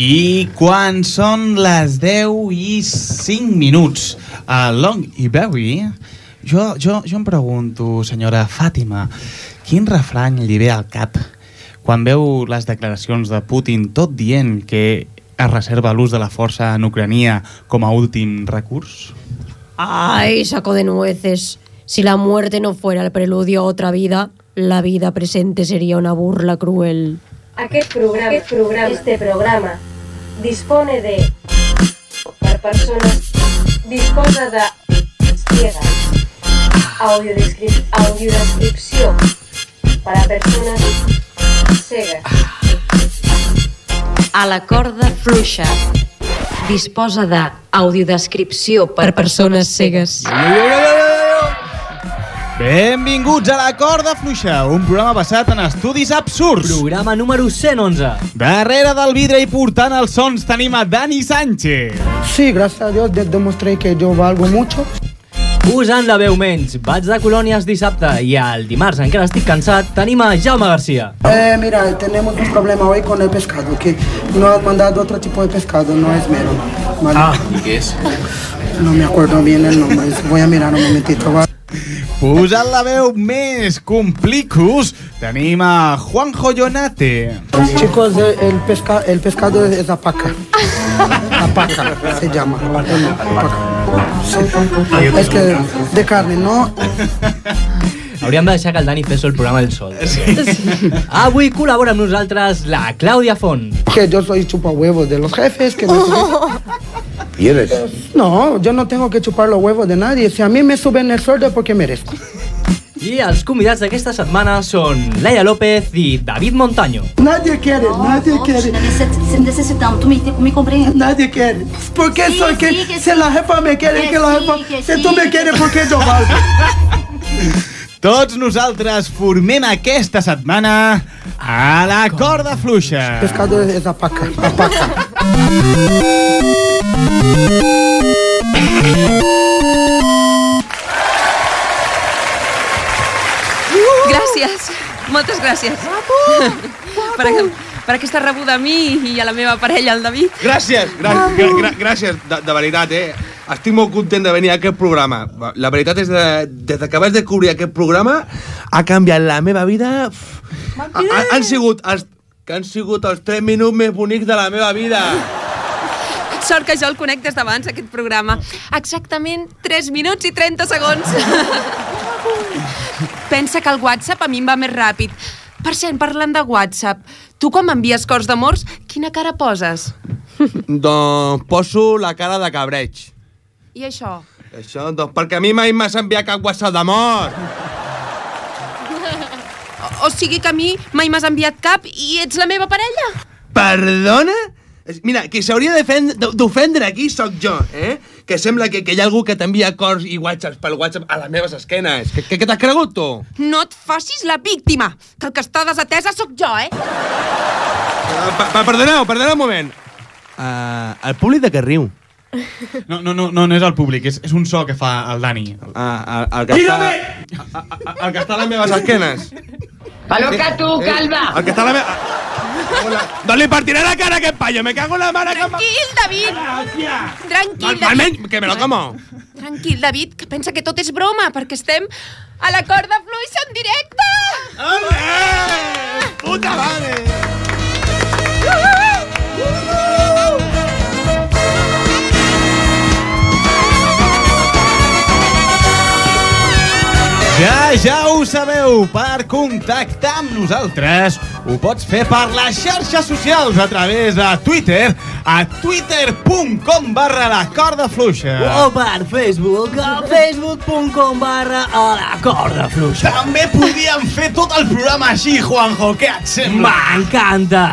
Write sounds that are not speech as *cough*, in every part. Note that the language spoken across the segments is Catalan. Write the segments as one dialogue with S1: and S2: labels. S1: I quan són les 10 i 5 minuts a Long i Berry, jo, jo, jo em pregunto, senyora Fàtima, quin refrany li ve al cap quan veu les declaracions de Putin tot dient que es reserva l'ús de la força en Ucrania com a últim recurs?
S2: Ay, saco de nueces. Si la muerte no fuera el preludio a otra vida, la vida presente sería una burla cruel.
S3: Aquest programa, aquest programa, este programa, dispone de... Per persones, disposa de... Ciega. Audiodescrip, audiodescripció. Para persones cegues.
S4: A la corda fluixa. Disposa de audiodescripció per,
S2: Per persones cegues.
S1: Benvinguts a la corda fluixa, un programa basat en estudis absurds.
S5: Programa número 111.
S1: Darrere del vidre i portant els sons tenim a Dani Sánchez.
S6: Sí, gracias a Dios de- demostré que yo valgo mucho.
S5: Usant la veu menys, vaig de colònies dissabte i el dimarts, encara estic cansat, tenim a Jaume Garcia.
S6: Eh, mira, tenemos un problema hoy con el pescado, que nos han mandado otro tipo de pescado, no es mero. ¿vale?
S5: Ah.
S7: ¿Qué es?
S6: No me acuerdo bien el nombre, *laughs* voy a mirar un momentito. ¿vale?
S1: Posant la veu més complicus, tenim a Juanjo Jonate.
S6: Chicos, eh, el, pesca el pescado es,
S5: *laughs*
S6: es apaca. Apaca se llama. Bueno, apaca. Sí. Es que de carne, ¿no?
S5: Hauríem de deixar que el Dani fes el programa del sol. Sí. Avui col·labora amb nosaltres la Clàudia Font.
S6: Que yo soy chupahuevos de los jefes, que no sé qué.
S7: ¿Quieres?
S6: No, yo no tengo que chupar los huevos de nadie. Si a mí me suben el sueldo es porque merezco.
S5: I els convidats d'aquesta setmana són Laia López i David Montaño.
S6: Nadie quiere, nadie quiere.
S8: Se necesitamos, tú me, me comprendes.
S6: Nadie quiere. ¿Por qué
S8: Sí,
S6: soy que,
S8: sí, que
S6: si
S8: sí.
S6: la jefa me quiere, que,
S8: Que
S6: la
S8: sí,
S6: jefa,
S8: que
S6: si
S8: sí.
S6: tú me quieres, ¿por qué
S8: *laughs*
S6: yo valgo?
S1: *laughs* Tots nosaltres formem aquesta setmana a la corda fluixa.
S6: Pescado es, es apaca, apaca.
S9: Gràcies, moltes gràcies. *laughs* per, per aquesta rebuda a mi i a la meva parella, el David.
S7: Gràcies,
S9: Ah.
S7: gra- gra- gra- gràcies, de, de veritat, eh? Estic molt content de venir a aquest programa. La veritat és que des de que vaig descobrir aquest programa ha canviat la meva vida. Uf. Ha, ha- han sigut els, que han sigut els 3 minuts més bonics de la meva vida.
S9: Sort que jo el conec des d'abans, aquest programa. Exactament 3 minuts i 30 segons. Pensa que el WhatsApp a mi em va més ràpid. Per cert, parlant de WhatsApp, tu quan m'envies cors d'amors, quina cara poses?
S7: doncs poso la cara de cabreig.
S9: I això?
S7: Això, doncs, perquè a mi mai m'has enviat cap WhatsApp de mort.
S9: O, o sigui que a mi mai m'has enviat cap i ets la meva parella?
S7: Perdona? És- Mira, qui s'hauria defen- d'o- d'ofendre aquí sóc jo, eh? Que sembla que, que hi ha algú que t'envia cors i whatsapps pel whatsapp a les meves esquenes. Que, que, que t'has cregut, tu?
S9: No et facis la víctima, que el que està desatesa sóc jo, eh?
S7: Pa, pa, perdoneu, perdoneu un moment. Uh, el públic de que riu.
S1: No, no, no, no, no és el públic, és, és un so que fa el Dani.
S7: Uh, el, el, que està, el, el que està a les meves esquenes.
S4: Paloca tu, calma!
S7: El que està a la meva... Hola. Doncs li partiré la cara a aquest paio, me cago en la mare que...
S9: Tranquil, David! Tranquil,
S7: Al-
S9: David.
S7: Almenys, que me lo como.
S9: Tranquil, David, que pensa que tot és broma, perquè estem a la corda fluixa en directe!
S7: Ole! Puta
S9: *laughs*
S7: madre!
S1: Ja, ja ho sabeu, per contactar amb nosaltres ho pots fer per les xarxes socials a través de Twitter a twitter.com barra la corda fluixa.
S5: O per Facebook, a facebook.com barra a la corda fluixa.
S1: També podíem fer tot el programa així, Juanjo, què et sembla?
S10: Ah.
S5: M'encanta!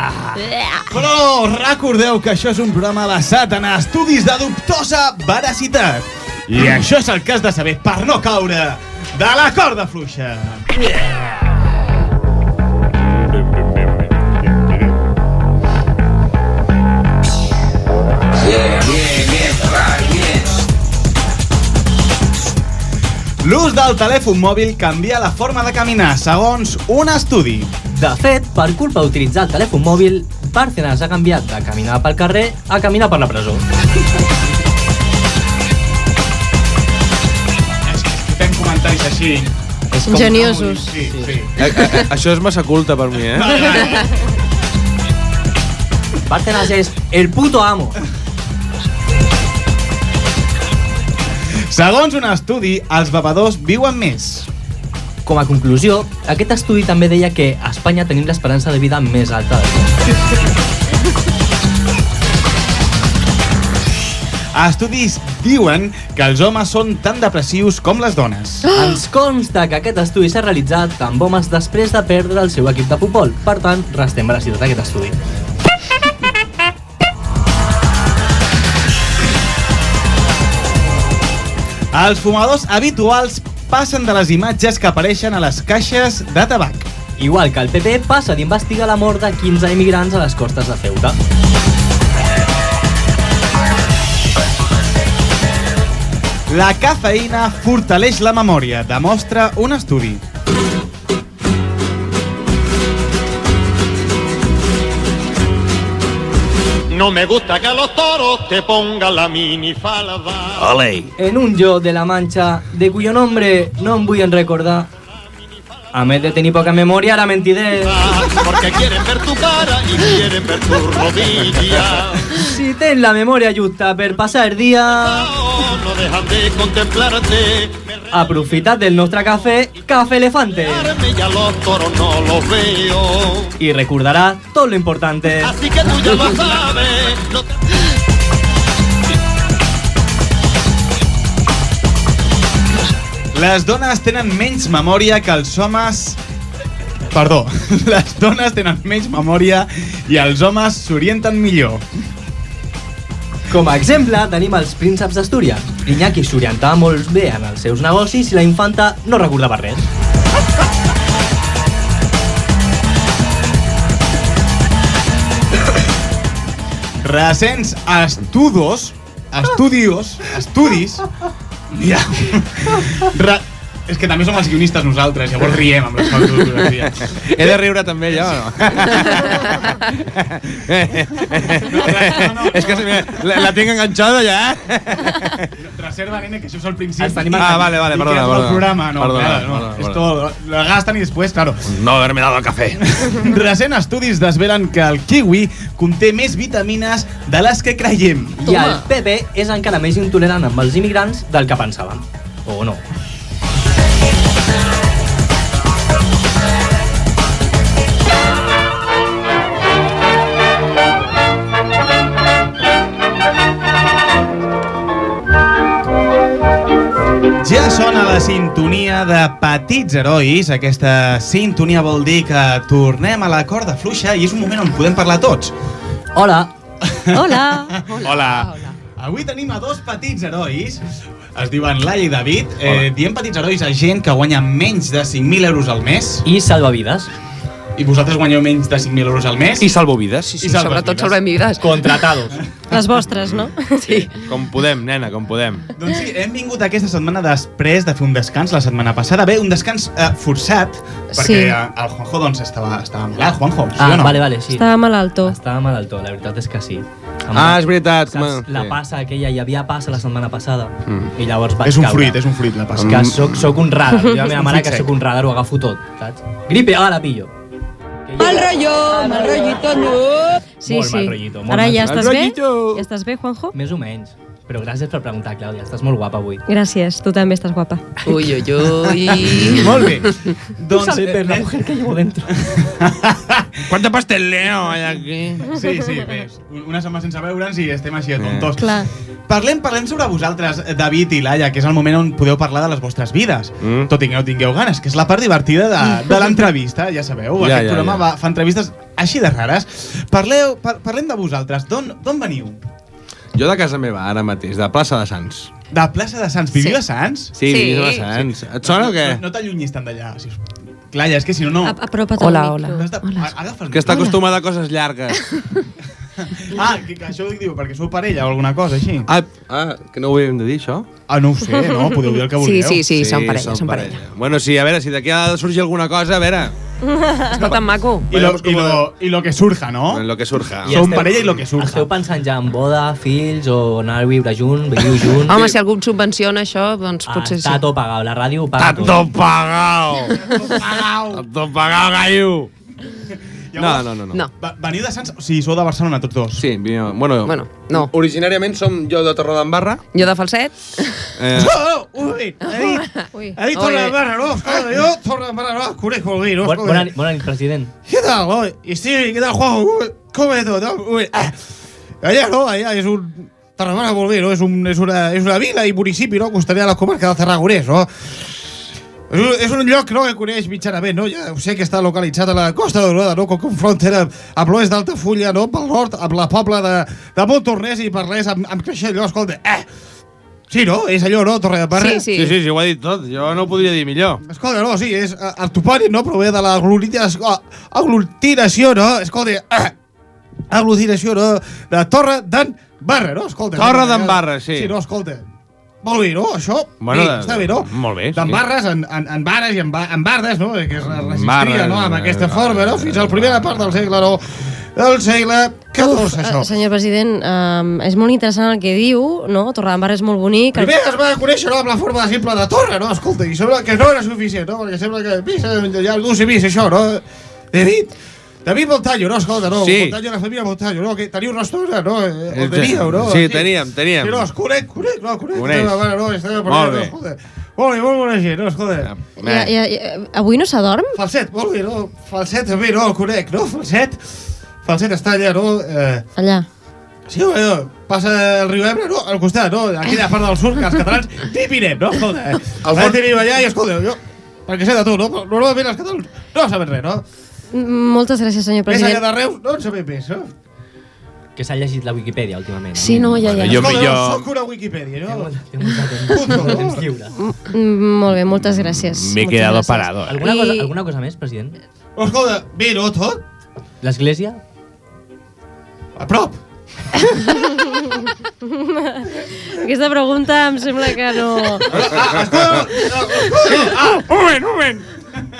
S1: Però recordeu que això és un programa basat en estudis de dubtosa veracitat. I això és el que has de saber per no caure de la corda fluixa. L'ús del telèfon mòbil canvia la forma de caminar, segons un estudi.
S5: De fet, per culpa d'utilitzar el telèfon mòbil, Bárcenas ha canviat de caminar pel carrer a caminar per la presó.
S4: Fem comentaris així.
S5: És
S2: Ingeniosos.
S4: Sí, sí.
S7: Eh, eh, Això és massa culte per mi, eh?
S5: Bárcenas és el puto amo.
S1: Segons un estudi, els bevedors viuen més.
S5: Com a conclusió, aquest estudi també deia que a Espanya tenim l'esperança de vida més alta del món.
S1: Estudis diuen que els homes són tan depressius com les dones.
S5: Ens consta que aquest estudi s'ha realitzat amb homes després de perdre el seu equip de futbol. Per tant, restem a la ciutat d'aquest estudi.
S1: Els fumadors habituals passen de les imatges que apareixen a les caixes de tabac.
S5: Igual que el PP passa d'investigar la mort de 15 immigrants a les costes de Ceuta.
S1: La cafeïna fortaleix la memòria, demostra un estudi.
S4: No me gusta que los toros te pongan la minifalda.
S11: Ole.
S5: En un jo de la manxa, de cuyo nombre no em vull en recordar. A més de tenir poca memòria, ara mentiré.
S4: Porque quieren ver tu cara y quieren ver tu rodilla.
S5: Si tens la memòria justa per passar el dia,
S4: No dejan de contemplarte.
S5: aprofita't del nostre cafè, Cafè Elefante,
S4: Mirarme ya los toros no los veo.
S5: i recordaràs tot lo importante.
S4: Así que tú
S5: *laughs*
S4: ya lo sabes. No te...
S1: Les dones tenen menys memòria que els homes... Perdó, *laughs* les dones tenen menys memòria i els homes s'orienten millor.
S5: Com a exemple, tenim els prínceps d'Astúria. Iñaki s'orientava molt bé en els seus negocis i la infanta no recordava res.
S1: Recents estudos, estudios, estudis... Ja. *laughs* Re... És que també som els guionistes nosaltres, llavors riem amb les fotos d'ortografia.
S7: He de riure també jo, o no? *laughs* És que se me- la, la tinc enganxada ja, eh? *laughs*
S1: Reserva, nene, que això és el principi.
S5: Els tenim
S7: Ah, vale,
S1: Y
S7: vale,
S1: que es todo
S7: perdona, perdona.
S1: el programa, no,
S7: Perdona,
S1: nada, no,
S7: perdona,
S1: es
S7: perdona.
S1: todo, lo gastan y después,
S7: *laughs*
S1: claro.
S11: No haberme dado café.
S1: Recent estudis desvelen que el kiwi conté més vitamines de les que creiem.
S5: I el PP és encara més intolerant amb els immigrants del que pensàvem. O no.
S1: Ja sona la sintonia de Petits Herois. Aquesta sintonia vol dir que tornem a la corda fluixa i és un moment on podem parlar tots.
S5: Hola,
S2: Hola.
S1: Hola. Avui tenim a dos petits herois. Es diuen Laia i David. Eh, diem petits herois a gent que guanya menys de 5.000 euros al mes.
S5: i salvavides.
S1: I vosaltres guanyeu menys de 5.000 euros al mes.
S7: I salvo vides, sí, sí.
S1: salves
S9: Sobretot
S1: vides.
S9: sobre vides.
S5: Contratados.
S2: Les vostres, no?
S9: Sí.
S7: Com podem, nena, com podem.
S1: Doncs sí, hem vingut aquesta setmana després de fer un descans la setmana passada. Bé, un descans eh, forçat, perquè
S2: Sí.
S1: eh, el Juanjo doncs estava, estava malalt, Juanjo, sí
S5: Ah,
S1: o no?
S5: vale, vale, sí.
S2: Estava malalto.
S5: Estava malaltó, la veritat és que sí. Amb
S7: Ah, és veritat.
S5: Saps, la passa aquella, hi havia passa la setmana passada.
S7: Mm.
S5: I llavors vaig
S1: És un
S5: caure.
S1: fruit, és un fruit, la passa.
S5: Que soc, soc
S7: *laughs*
S5: un radar. Jo a la meva mare
S1: fruit
S5: que
S1: sec.
S5: sóc un radar ho agafo tot, saps? Gripe, ah, la pillo. Que jo-
S9: mal rollito, no.
S2: Sí,
S5: Molt
S2: sí.
S5: mal rollito, molt
S2: Ara
S5: mal
S2: ja
S5: rollito.
S2: estàs
S7: Mal
S2: bé?
S7: rollito.
S2: Ja estàs bé, Juanjo?
S5: Més o menys. Però gràcies per preguntar, Clàudia. Estàs molt guapa avui.
S2: Gràcies, tu també estàs
S5: *laughs*
S2: guapa.
S9: Ui, ui, ui.
S1: *laughs* Molt bé. doncs, eh,
S5: la mujer que llevo dentro.
S7: Quanta pasteleo hay aquí?
S1: sí, sí, bé. Una setmana sense veure'ns i estem així de tontos.
S2: Clar.
S1: Parlem, parlem sobre vosaltres, David i Laia, que és el moment on podeu parlar de les vostres vides.
S7: Mm.
S1: Tot i que no tingueu ganes, que és la part divertida de,
S2: *laughs*
S1: de l'entrevista, ja sabeu.
S7: Ja,
S1: Ja, Aquest
S7: ja,
S1: ja, programa
S7: ja.
S1: Va, fa entrevistes així de rares. Parleu, par parlem de vosaltres. D'on d'on veniu?
S7: Jo de casa meva, ara mateix, de plaça de Sants.
S1: De plaça de Sants. Viviu sí. a Sants?
S9: Sí.
S7: Sí, sí. de Sants. Et sona o què?
S1: No, no t'allunyis tant d'allà. Si us... Clar, ja, és que si no, no...
S2: A- Apropa't
S9: Hola,
S2: al
S9: hola.
S2: micro.
S1: Has de- a- Agafa el
S7: Que està
S1: micro.
S7: acostumada a coses llargues.
S1: Ah, que, que això ho diu perquè sou parella o alguna cosa així.
S7: Ah, ah que no ho havíem de dir, això?
S1: Ah, no ho sé, no? Podeu dir el que
S9: Sí,
S1: vulgueu.
S9: sí, sí, són parella, són parella.
S7: Bueno, sí, a veure, si d'aquí ha de sorgir alguna cosa, a veure...
S9: Està tan maco.
S1: I lo, i, lo, I lo que surja, ¿no?
S7: Lo que surja.
S1: Som parella i lo que surja.
S5: Esteu pensant ja en boda, fills o anar a viure junts, viviu junts?
S9: Home, si algú em subvenciona això, doncs
S5: Ah,
S9: potser
S5: Està
S9: sí.
S5: tot pagat, la ràdio ho paga tot.
S7: Tot pagao. Tot pagao, gallo. No, no, no. no.
S9: No.
S1: Va- Veniu de Sants? O sigui, sou de Barcelona tots dos.
S7: Sí, vivim- bueno,
S9: Bueno, no.
S7: originàriament som jo de Torredembarra.
S9: Jo de falset?
S7: Eh,
S1: Oh, oh, uy, he *laughs* dit,
S9: Ui.
S1: he dit Torredembarra, no, *laughs* joder, jo Torredembarra, no, conec molt bé, no,
S5: Bon, bona,
S1: joder.
S5: nit- bona nit, president.
S1: ¿Qué tal? Oye, y sí, ¿qué tal, Juanjo? ¿Cómo- ¿Cómo es todo? Uy, ah. Allá, ¿no? Allá es un... Tarragona volver, ¿no? Es, un, es, una, es una vila i municipi, no? Costaria a les comarques del Tarragonès, no? És un, és un lloc no, que coneix mitjanament, no? Ja ho sé que està localitzat a la Costa Daurada, no? Com frontera amb l'oest d'Altafulla, no? Pel nord, amb la pobla de, de Montornès i Parlés, amb, amb Creixell, no? Escolta, eh! Sí, no? És allò, no? Torre de Parra?
S9: Sí, sí.
S7: sí, sí, sí, ho ha dit tot. Jo no ho podria dir millor.
S1: Escolta, no, sí, és eh, el topònim, no? Prové de l'aglutinació, ah, aglutinació, no? Escolta, eh, aglutinació, no? De Torre d'en Barra, no? Escolta.
S7: Torre
S1: no?
S7: d'en Barra, sí.
S1: Sí, no, escolta. Molt bé, no? Això
S7: Bueno,
S1: bueno, bé,
S7: de-
S1: està bé, no?
S7: molt bé,
S1: D'en
S7: sí.
S1: barres, en, en, en bares i en, ba en bardes, no? Que es resistia,
S7: Barres,
S1: no? Amb
S7: eh,
S1: aquesta forma, no? Fins a la primera part del segle, no? Del segle XIV, això.
S2: Eh, senyor president, um, és molt interessant el que diu, no? Torredembarra és molt bonic.
S1: Primer es va conèixer no, amb la forma de simple de torre, no? Escolta, i sembla que no era suficient, no? Perquè sembla que pisa, ja algú s'hi vist, això, no? David, David Montallo, no? Escolta, no?
S7: Sí.
S1: Montallo, la família Montallo, no? Que teniu restaurant, no? Eh,
S7: Eh,
S1: El teníeu, no?
S7: sí, teníem, teníem.
S1: Sí, no, es conec, conec, no? Conec,
S7: Coneix.
S1: no, bueno, no, estava per
S7: Molt
S1: allà,
S7: bé.
S1: no, escolta. Molt bé, molt bona gent, no? Escolta.
S2: Ja, ja, ja, avui no s'adorm?
S1: Falset, molt bé, no? Falset també, no? El conec, no? Falset. Falset està allà, no? Eh,
S2: Allà.
S1: Sí, home, no. passa el riu Ebre, no? Al costat, no? Aquella part del sud que els catalans
S2: *laughs*
S1: tipinem, no? Escolta, eh? El fons vivim allà i, escolta, jo... Perquè sé de tu, no? Però Normalment els catalans no saben res, no?
S2: Mm, Moltes gràcies, senyor
S1: Més allà
S2: president.
S1: de Reus no en sabem més, no?
S5: Que s'ha llegit la Wikipedia últimament. eh?
S2: Sí, no, ja, ja.
S7: Jo
S1: Escolta,
S7: millor-
S1: no, soc una Wikipedia,
S5: Té
S1: no?
S5: molt- té molt de temps- de temps lliure.
S2: Mm, molt bé, moltes gràcies.
S7: Me he
S2: Moltes
S7: quedado
S2: gràcies.
S7: parado. eh.
S5: Alguna,
S2: I- *laughs*
S5: cosa, alguna cosa més, president?
S1: Escolta, bé, no, tot?
S5: L'església?
S1: A prop.
S2: Aquesta pregunta em sembla que
S1: *laughs*
S2: no...
S1: Ah, escolta, no, escolta, ah, un moment, un moment,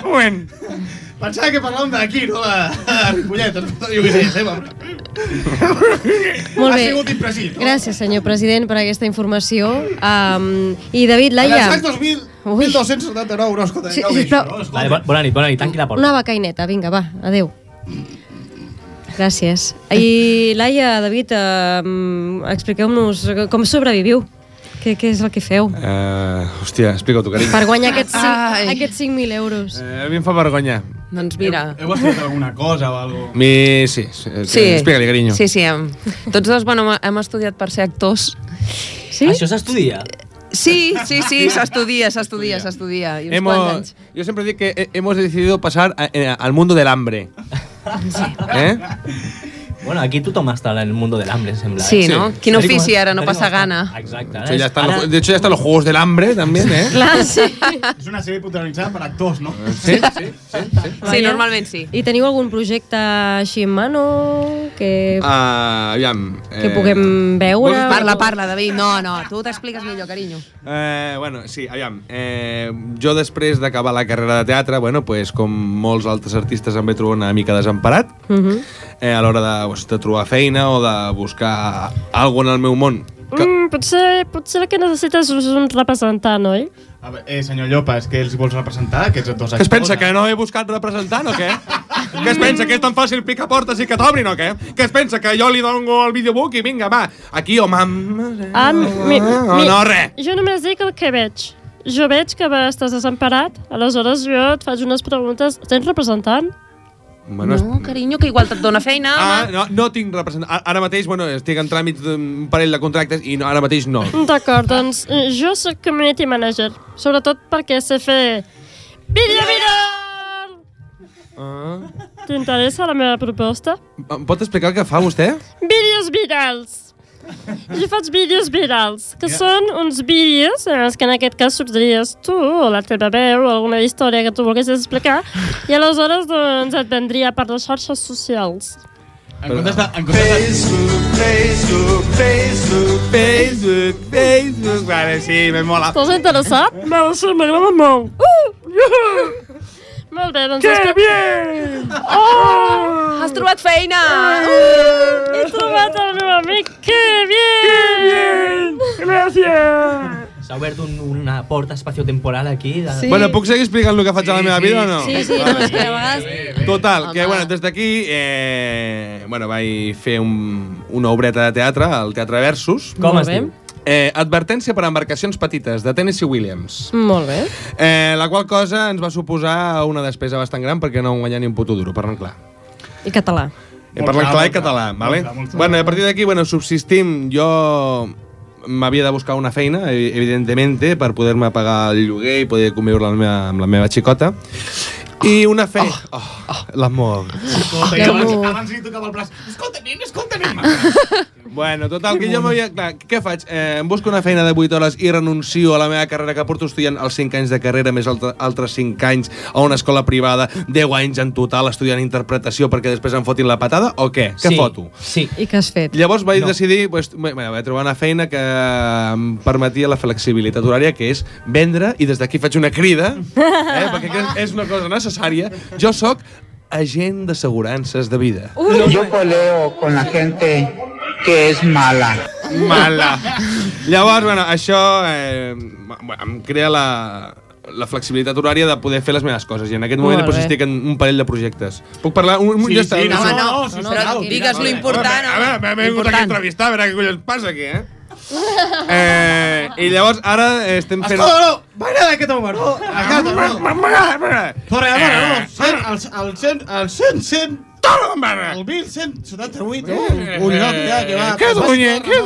S1: un moment. Pensava que parlàvem d'aquí, no? La, la Ripollet, escolta, jo què sé, seva.
S2: Molt
S1: Ha
S2: bé.
S1: sigut imprecís, no?
S2: Gràcies, senyor president, per aquesta informació. Um, I David,
S1: En
S2: Laia,
S1: els anys 2000,
S2: Ui.
S1: 1279, no, escolta,
S2: Sí,
S1: ja ho veig,
S2: sisplau.
S1: no? Escolta.
S5: Vale, bo- bona nit, bona nit, tanqui la porta.
S2: una becaineta. Vinga, va, adeu. Gràcies. I Laia, David, um, expliqueu-nos com sobreviviu. Què, què és el que feu
S7: Eh, hòstia, explica tu, carinyo.
S2: per guanyar aquests,
S9: Ai.
S2: cinc- aquests 5.000 euros?
S7: Eh, a mi em fa vergonya.
S9: Doncs mira...
S1: Heu fet alguna cosa o algo?
S7: Mi... Sí, sí. eh,
S9: Sí.
S7: Explica-li, carinyo.
S9: Sí, sí. Hem, tots dos, bueno, hem- hem estudiat per ser actors.
S2: Sí?
S5: Això s'estudia?
S9: Sí, sí, sí, s'estudia, s'estudia, s'estudia. I uns quants
S7: Hemos,
S9: anys.
S7: yo siempre digo que he- hemos decidido pasar a- eh, al mundo del hambre. ¿Eh?
S5: Bueno, aquí tothom està en el mundo del hambre, sembla.
S9: Sí,
S5: eh?
S9: no?
S7: Sí.
S9: Quin
S5: Tal com
S9: ofici
S5: es-
S9: ara, no
S5: tal com
S9: passa
S5: està.
S9: gana.
S5: Exacte.
S7: Eso ya están
S5: Ara-
S7: los- de hecho, ya están los juegos del hambre también, ¿eh?
S2: Clar, sí.
S1: És una sèrie protagonitzada per actors, no?
S7: Sí, sí, sí. sí.
S9: Sí, normalment sí.
S2: I teniu algun projecte així en mano que,
S7: Ah, aviam,
S2: que
S7: eh,
S2: puguem veure?
S9: Parla, parla, David. No, no, tu t'expliques millor, carinyo.
S7: Eh, bueno, sí, aviam. Eh, jo després d'acabar la carrera de teatre, bueno, pues, com molts altres artistes em vaig trobar una mica desemparat
S2: Uh -huh.
S7: eh, a l'hora de, pues, de trobar feina o de buscar alguna en el meu món. Que,
S12: Mm, potser, potser el que necessites és un representant, oi?
S1: A veure, eh, senyor Llopas, què els vols representar, aquests eh? dos
S7: que es pensa, que no he buscat representant o què? que es pensa, que és tan fàcil picar portes i que t'obrin o què? Que es pensa, que jo li dono el videobook i vinga, va, aquí o mam...
S12: Ah, mi-
S7: o
S12: mi-
S7: no, res.
S12: Jo només dic el que veig. Jo veig que estàs desemparat, aleshores jo et faig unes preguntes. Tens representant?
S7: Bueno, es-
S9: No, carinyo, que igual te't dona feina.
S7: Ah,
S9: home.
S7: no, no tinc representant. Ara- Ara mateix, bueno, estic en tràmits d'un parell de contractes i no, ara mateix no.
S12: D'acord, doncs eh, jo sóc community manager, sobretot perquè sé fer... Vídeo viral!
S7: Ah.
S12: T'interessa la meva proposta?
S7: Em pot explicar el que fa vostè?
S12: Vídeos virals! Jo faig vídeos virals, que són uns vídeos en els que en aquest cas sorgiries tu o la teva veu o alguna història que tu volguessis explicar i aleshores doncs, et vendria per les xarxes socials.
S1: En comptes de... En comptes de...
S7: Facebook, Facebook, Facebook, Facebook... Vale, sí, me mola.
S12: Estàs interessat? Me sembla molt. Uh! Molt bé, doncs...
S9: Que
S12: espero-
S9: bien!
S12: Oh!
S9: Has trobat feina!
S12: He trobat el meu amic! Que bien! Que bien!
S5: Gràcies! S'ha obert un, una porta espaciotemporal aquí. De...
S7: Sí. Bueno, puc seguir explicant el que faig a la meva vida o no?
S5: Sí, sí,
S7: Vale.
S5: no, és que a
S9: vegades-
S7: Total,
S5: Home.
S7: que bueno, des d'aquí eh, bueno, vaig fer un, una obreta de teatre al Teatre Versus.
S5: Com Molt es bé. diu?
S7: Eh, advertència per a embarcacions petites, de Tennessee Williams.
S1: Molt bé.
S7: Eh, la qual cosa ens va suposar una despesa bastant gran perquè no vam guanyar ni un puto duro, parlant clar.
S1: I català.
S7: Eh, parlant
S1: clar,
S7: clar i
S1: molt clar,
S7: català,
S1: molt
S7: vale?
S1: clar, molt clar.
S7: Bueno, i a partir d'aquí, bueno, subsistim. Jo m'havia de buscar una feina, e- evidentment, per poder-me pagar el lloguer i poder conviure amb la meva, amb la meva xicota. I una feina... Oh, oh, l'amor.
S1: Escolta, i abans, abans li tocava el braç. Escolta, nen, escolta, nen.
S7: Bueno, total, que jo m'havia... Clar, què faig? Eh, em busco una feina de 8 hores i renuncio a la meva carrera que porto estudiant els 5 anys de carrera, més altre, altres 5 anys a una escola privada, 10 anys en total estudiant interpretació perquè després em fotin la patada, o què? Què
S5: Sí.
S7: foto?
S5: Sí.
S1: I què has fet?
S7: Llavors vaig no. decidir, pues, bé, bé, vaig trobar una feina que em permetia la flexibilitat horària, que és vendre, i des d'aquí faig una crida, eh, perquè crec que és una cosa necessària. Jo sóc agent d'assegurances de vida.
S13: Yo coleo con la gente que es mala.
S7: Mala. Llavors, bueno, això eh, bueno, em crea la, la flexibilitat horària de poder fer les meves coses i en aquest moment
S1: Molt
S7: pues,
S1: bé.
S7: estic en un parell de projectes. Puc parlar? Un, un,
S1: Sí,
S7: ja
S1: sí,
S7: està.
S1: no,
S7: Sí.
S1: no, no, sí, però digues lo important,
S7: A veure, a veure, m'he vingut aquí a
S1: important.
S7: entrevistar, a veure què collons passa aquí, eh? Eh, I llavors ara eh, estem fent...
S1: Escolta, no, m'agrada aquest home, no? M'agrada, no?
S7: M'agrada, m'agrada.
S1: Torre, ara, no? Cent, el, el cent, el cent, cent,
S7: Torre, m'agrada.
S1: El 1178, un, un lloc ja que va...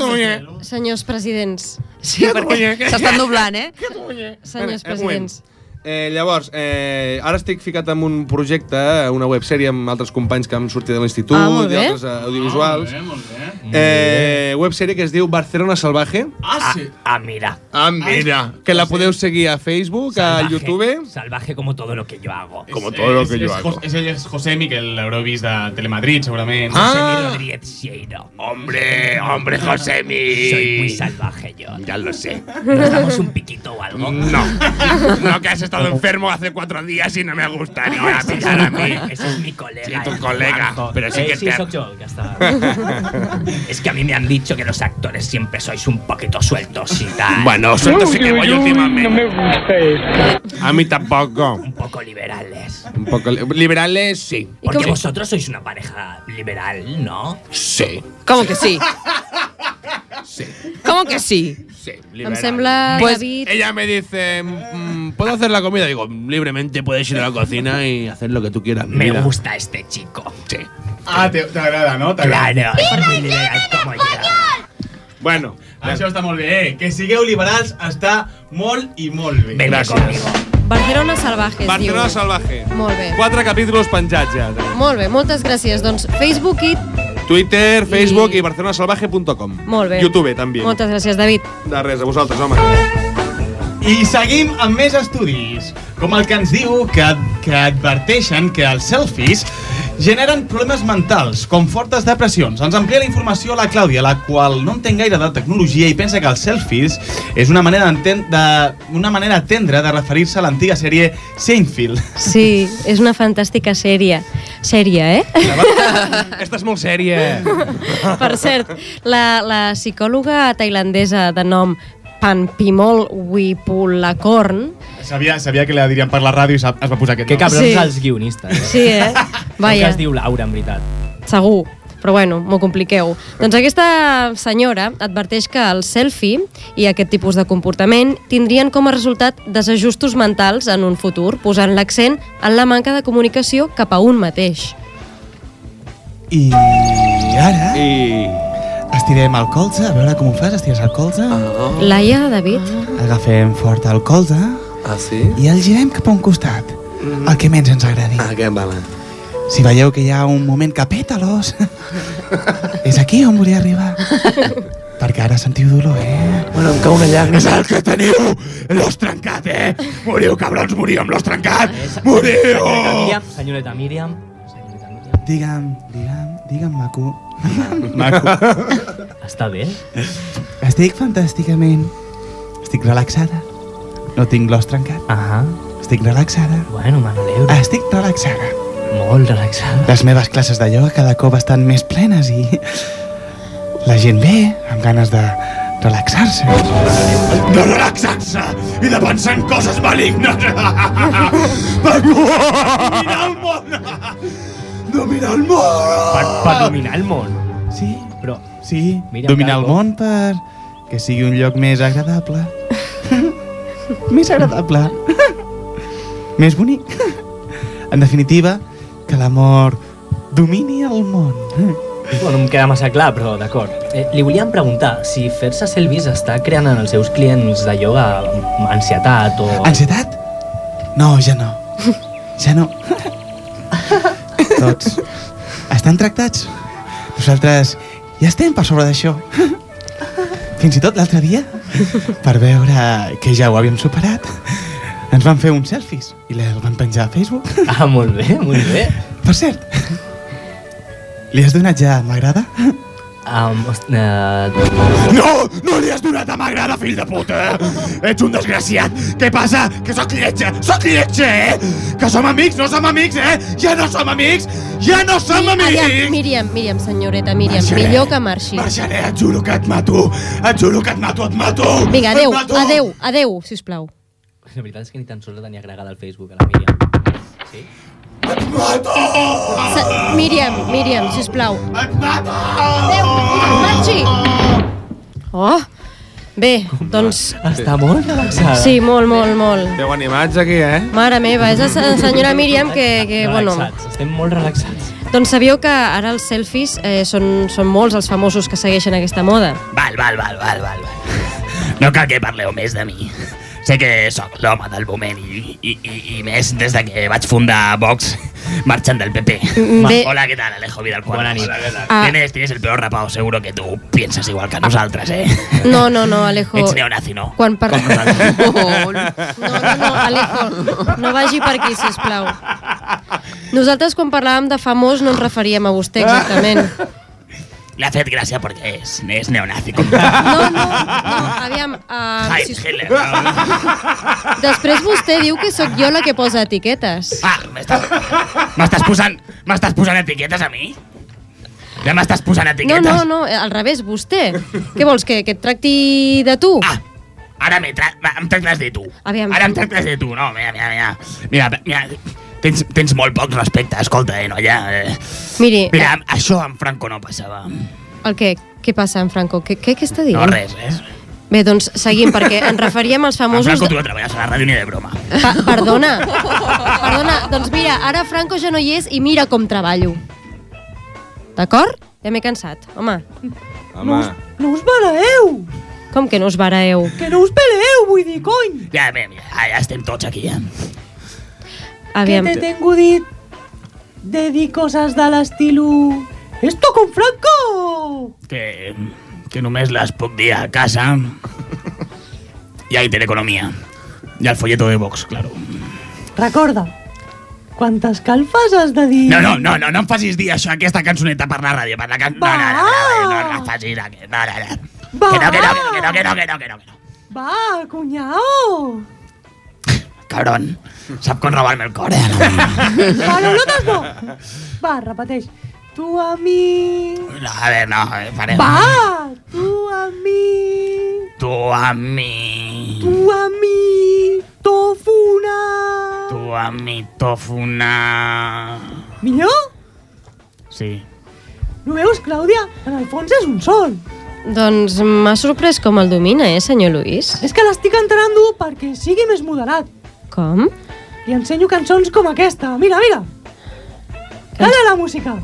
S2: Senyors presidents.
S9: Sí, perquè s'estan doblant, eh?
S2: Senyors
S7: Espera, eh, un moment.
S2: presidents.
S7: Eh, llavors, eh, ara estic ficat en un projecte, una websèrie amb altres companys que han sortit de l'institut,
S1: Ah, molt
S7: i
S1: bé.
S7: altres eh, audiovisuals.
S1: Ah, molt bé, molt
S7: Eh, websèrie que es diu Barcelona Salvaje.
S1: Ah, sí.
S5: Ah, mira.
S7: Ah, mira. Que la podeu seguir a Facebook, a
S5: Salvaje.
S7: YouTube.
S5: Salvaje como todo lo que yo hago.
S7: Como todo lo que yo hago.
S1: És ell, és José Miquel, l'haureu vist de Telemadrid, segurament.
S5: José Rodríguez Sieiro.
S1: Ah! Hombre, hombre, Josemi.
S5: Soy muy salvaje yo.
S1: Ya lo sé.
S5: ¿Nos damos un piquito o algo?
S1: No.
S5: No,
S1: que has estado enfermo hace cuatro días y no me gusta ni
S5: ahora
S1: picar a mí.
S5: Ese es mi colega.
S1: Sí, tu
S5: el
S1: colega,
S5: Juanjo.
S1: pero sí
S5: Eh,
S1: que
S5: sí,
S1: te-
S5: soy yo, ya está. *laughs* es que a mí me han dicho que los actores siempre sois un poquito sueltos y tal.
S1: Bueno, sueltos sí que Uy, voy uy, uy, últimamente. no me
S5: gusta
S7: A mí tampoco.
S5: Un poco liberales.
S7: Un poco li- liberales, sí.
S5: Porque vosotros sois una pareja liberal, ¿no?
S7: Sí.
S9: Com que sí? Com que sí?
S7: Sí,
S2: Em sembla,
S7: Pues,
S2: David...
S7: Ella me dice, mm, ¿puedo hacer la comida? Digo, libremente puedes ir a la cocina y hacer lo que tú quieras.
S5: Me
S7: gusta
S5: este chico.
S7: Sí.
S1: Ah, te- t'agrada, no?
S5: Claro,
S1: és
S5: muy liberal como yo.
S7: Bueno.
S1: Ah, Això està molt bé. eh? Que sigueu liberals està molt i molt bé.
S5: Venga
S1: Gràcies.
S2: Barcelona Salvajes,
S7: Barcelona
S2: diu.
S7: Salvaje.
S2: Molt bé.
S7: Quatre capítols penjats ja.
S2: Molt bé, moltes gràcies. Doncs Facebook i...
S7: Twitter, Facebook i, barcelonasalvaje.com.
S2: Molt bé.
S7: YouTube també.
S2: Moltes gràcies, David.
S7: De res, a vosaltres, home.
S1: I seguim amb més estudis, com el que ens diu que, que adverteixen que els selfies generen problemes mentals, com fortes depressions. Ens amplia la informació la Clàudia, la qual no entén gaire de tecnologia i pensa que els selfies és una manera, d'enten- de, una manera tendra de referir-se a l'antiga sèrie Seinfeld.
S2: Sí, és una fantàstica sèrie. Sèrie, eh?
S7: *laughs* Esta *laughs* és molt sèria.
S2: Per cert, la, la psicòloga tailandesa de nom Panpimol Wipulakorn
S1: Sabia, sabia que la dirien per la ràdio i sap- es va posar aquest
S5: Que
S1: nom.
S5: cabrons
S2: Sí.
S5: els guionistes. Eh?
S2: Sí,
S7: *laughs*
S2: eh?
S5: Que
S2: Vaja,
S5: es diu Laura, en veritat.
S2: segur. Però bueno, m'ho compliqueu. Doncs aquesta senyora adverteix que el selfie i aquest tipus de comportament tindrien com a resultat desajustos mentals en un futur, posant l'accent en la manca de comunicació cap a un mateix.
S14: I ara...
S7: I...
S14: Estirem el colze, a veure com ho fas, estires el colze. Oh.
S2: Laia, David?
S4: Ah.
S14: Agafem fort el colze.
S7: Ah, sí? Mhm.
S14: I el girem cap a un costat. El que menys ens agradi.
S7: Ah, que vale.
S14: Si veieu que hi ha un moment que peta
S7: *laughs*
S14: l'os, és aquí on volia arribar. Perquè ara sentiu dolor, eh?
S1: Bueno, em cau una llàgrima.
S14: És el que teniu! L'os trencat, eh? Moriu, cabrons, moriu amb l'os trencat! Moriu!
S5: Senyoreta Miriam, senyoreta Miriam.
S14: Digue'm, digue'm, digue'm, maco.
S12: *laughs*
S5: Maco. Està bé?
S14: Estic fantàsticament. Estic relaxada. No tinc l'os trencat.
S5: Ahà.
S1: Estic relaxada.
S12: Bueno, me n'alegro.
S1: Estic relaxada.
S12: Molt relaxada.
S1: Les meves classes de ioga cada cop estan més plenes i... La gent ve amb ganes de relaxar-se.
S4: De relaxar-se i de pensar en coses malignes. Per dominar el món. Dominar el món.
S12: Per, per dominar el món.
S1: Sí,
S12: però...
S1: Sí,
S12: Mira,
S1: Dominar el
S12: Calvo.
S1: món per que sigui un lloc més agradable. més agradable. més bonic. En definitiva, que l'amor domini el món.
S12: Bueno, no em queda massa clar, però d'acord. Eh, li volíem preguntar si fer-se selfies està creant en els seus clients de ioga ansietat o...
S2: Ah.
S1: Ansietat? No, ja no. Ja no. Tots estan tractats. Nosaltres ja estem per sobre d'això. Fins i tot l'altre dia, per veure que ja ho havíem superat, ens van fer uns selfies i les van penjar a Facebook.
S12: Ah, molt bé, molt bé.
S1: Per cert, li has donat ja m'agrada?
S12: Um, host- eh,
S4: No, no li has donat a m'agrada, fill de puta! Ets un desgraciat! Què passa? Que sóc lletja! Sóc lletja, eh? Que som amics, no som amics, eh? Ja no som amics! Ja no som
S2: Aviam,
S4: amics!
S2: Míriam, Míriam, senyoreta, Míriam,
S4: Marxaré.
S2: millor que marxi.
S4: Marxaré, et juro que et mato! Et juro que et mato, et mato!
S2: Vinga,
S4: Et
S2: adeu,
S4: mato!
S2: adeu, adeu, sisplau.
S12: La veritat és que ni tan sols la tenia agregada al Facebook, a la Míriam. Sí?
S2: Sa Míriam, Míriam, sisplau.
S4: Et mato!
S2: Adeu, marxi! Oh, bé, doncs...
S12: Està molt relaxada.
S2: Sí, molt, molt, molt.
S15: Esteu animats aquí, eh?
S2: Mare meva, és la se- senyora Míriam que, que bueno...
S12: Relaxats, estem molt relaxats.
S2: Doncs sabíeu que ara els selfies eh, són, són molts els famosos que segueixen aquesta moda.
S10: Val, val, val, val, val. val. No cal que parleu més de mi. Sé que sóc l'home del moment i, i, i, i més des de que vaig fundar Vox marxant del PP.
S2: Mm, bé.
S10: Hola, ¿qué tal, Alejo Vidal? Buenas
S12: nit.
S2: Ah.
S10: Tienes, tienes el peor rapado, seguro que tú piensas igual que nosaltres, ¿eh?
S2: No, no, no, Alejo.
S10: Ets neonazi, no?
S2: Quan par...
S10: Com nosaltres.
S2: No, no, no, Alejo, no vagi per aquí, sisplau. Nosaltres, quan parlàvem de famós, no ens referíem a vostè
S10: *laughs*
S2: exactament.
S10: Le haced gracia porque es, es neonazi. Com...
S2: No, no, no, aviam... Uh,
S10: Heil
S2: sis...
S10: Hitler. No,
S2: Després vostè diu que sóc jo la que posa etiquetes.
S10: Ah, m'estàs m'estàs posant, m'estàs posant etiquetes a mi? Ja m'estàs posant
S2: No,
S10: etiquetes?
S2: no, no, al revés, vostè. Què vols, que, que et tracti de tu? Ah,
S10: Ara me tra va, em tractes de tu.
S2: Aviam.
S10: Ara em tractes de tu. No, mira, mira, mira. Mira, mira. Tens, tens molt poc respecte, escolta, eh, noia. Eh.
S2: Miri,
S10: Mira, amb- això amb Franco no passava.
S2: el que... Què passa, en Franco? Què, què, què està dient?
S10: No, res, eh. res.
S2: Bé, doncs seguim, perquè ens referíem als
S10: Amb
S2: famosos...
S10: Franco tu no treballes a la ràdio ni de broma.
S2: Pa perdona, perdona, doncs mira, ara Franco ja no hi és i mira com treballo. D'acord? Ja m'he cansat, home.
S15: Home,
S2: No us baraeu! Com que no us baraeu? Que no us peleeu, vull dir, cony!
S10: Ja, mira, mira, ja estem tots aquí, eh.
S2: Aviam.
S5: Que te tengo dit de dir coses de l'estilo... Esto con Franco!
S10: Que, que només les puc dir a casa. I a Intereconomia. I al folleto de Vox, claro.
S5: Recorda, quantes calfes has de dir...
S10: No, no, no, no, no em facis dir això, aquesta cançoneta per la ràdio, per la can... No, no, no, no, no, no, no, facis, aquest- no, no, no.
S5: Va!
S10: Que no, que no, que no, que no, que no, que no, que no.
S5: Va, cunyao!
S10: Cabrón, sap com robar-me el cor, eh?
S5: Palolotes Ah, no! Va, repeteix. Tu a mi...
S10: No, a veure, no, eh, farem...
S5: Va, tu a mi...
S10: Tu a mi,
S5: Tu a mi... Tofuna...
S10: tu a mi, tofuna...
S5: Millor?
S10: Sí.
S5: No veus, Clàudia? En el fons és un sol.
S2: Doncs m'ha sorprès com el domina, eh, senyor Luis?
S5: És que l'estic entrenant perquè sigui més moderat.
S2: Com?
S5: Li ensenyo cançons com aquesta. Mira, mira. Calla la música.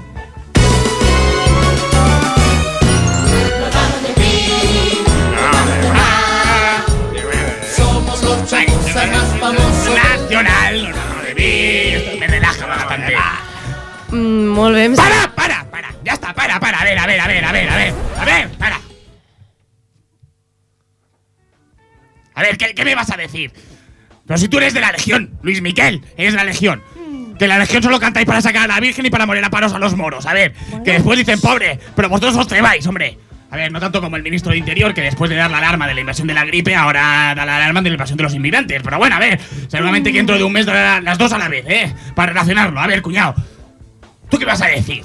S4: Somos los chicos más famosos.
S10: Nacional, no, de mi, esto me relaja bastante.
S2: Mm, molt bé. Para!
S10: Ya está, para, para, a ver, a ver, a ver, a ver, a ver, a ver, para. A ver, ¿qué, qué me vas a decir? Pero si tú eres de la Legión, Luis Miquel, eres de la Legión. Que la Legión solo cantáis para sacar a la Virgen y para morir a paros a los moros. A ver, que después dicen, pobre, pero vosotros os trebáis, hombre. A ver, no tanto como el ministro de Interior, que después de dar la alarma de la invasión de la gripe, ahora da la alarma de la invasión de los inmigrantes. Pero bueno, a ver, seguramente que dentro de un mes dará las dos a la vez, ¿eh? Para relacionarlo. A ver, cuñado, ¿tú qué vas a decir?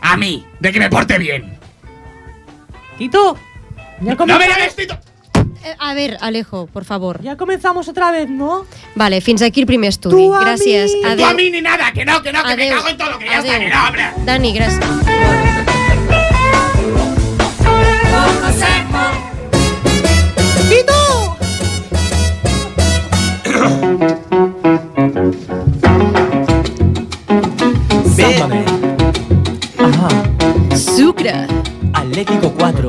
S10: A mí, de que me porte bien. *laughs*
S16: Tito, ya
S10: ¡No me
S16: comenzamos,
S10: llames, Tito!
S2: Eh, A ver, Alejo, por favor.
S16: ya comenzamos otra vez, ¿no?
S2: Vale, fins aquí el primer estudi.
S16: Tu a mi.
S2: gràcies.
S16: Tu a
S2: Adéu.
S16: mi
S10: ni nada, que no, que no, que me
S2: Adéu.
S10: cago en todo, que ya
S2: Adéu.
S10: está, que no, hombre.
S2: Dani, gràcies.
S16: ¡Tito!
S5: Sápame. Ajá.
S9: Sucre.
S5: Atlético 4.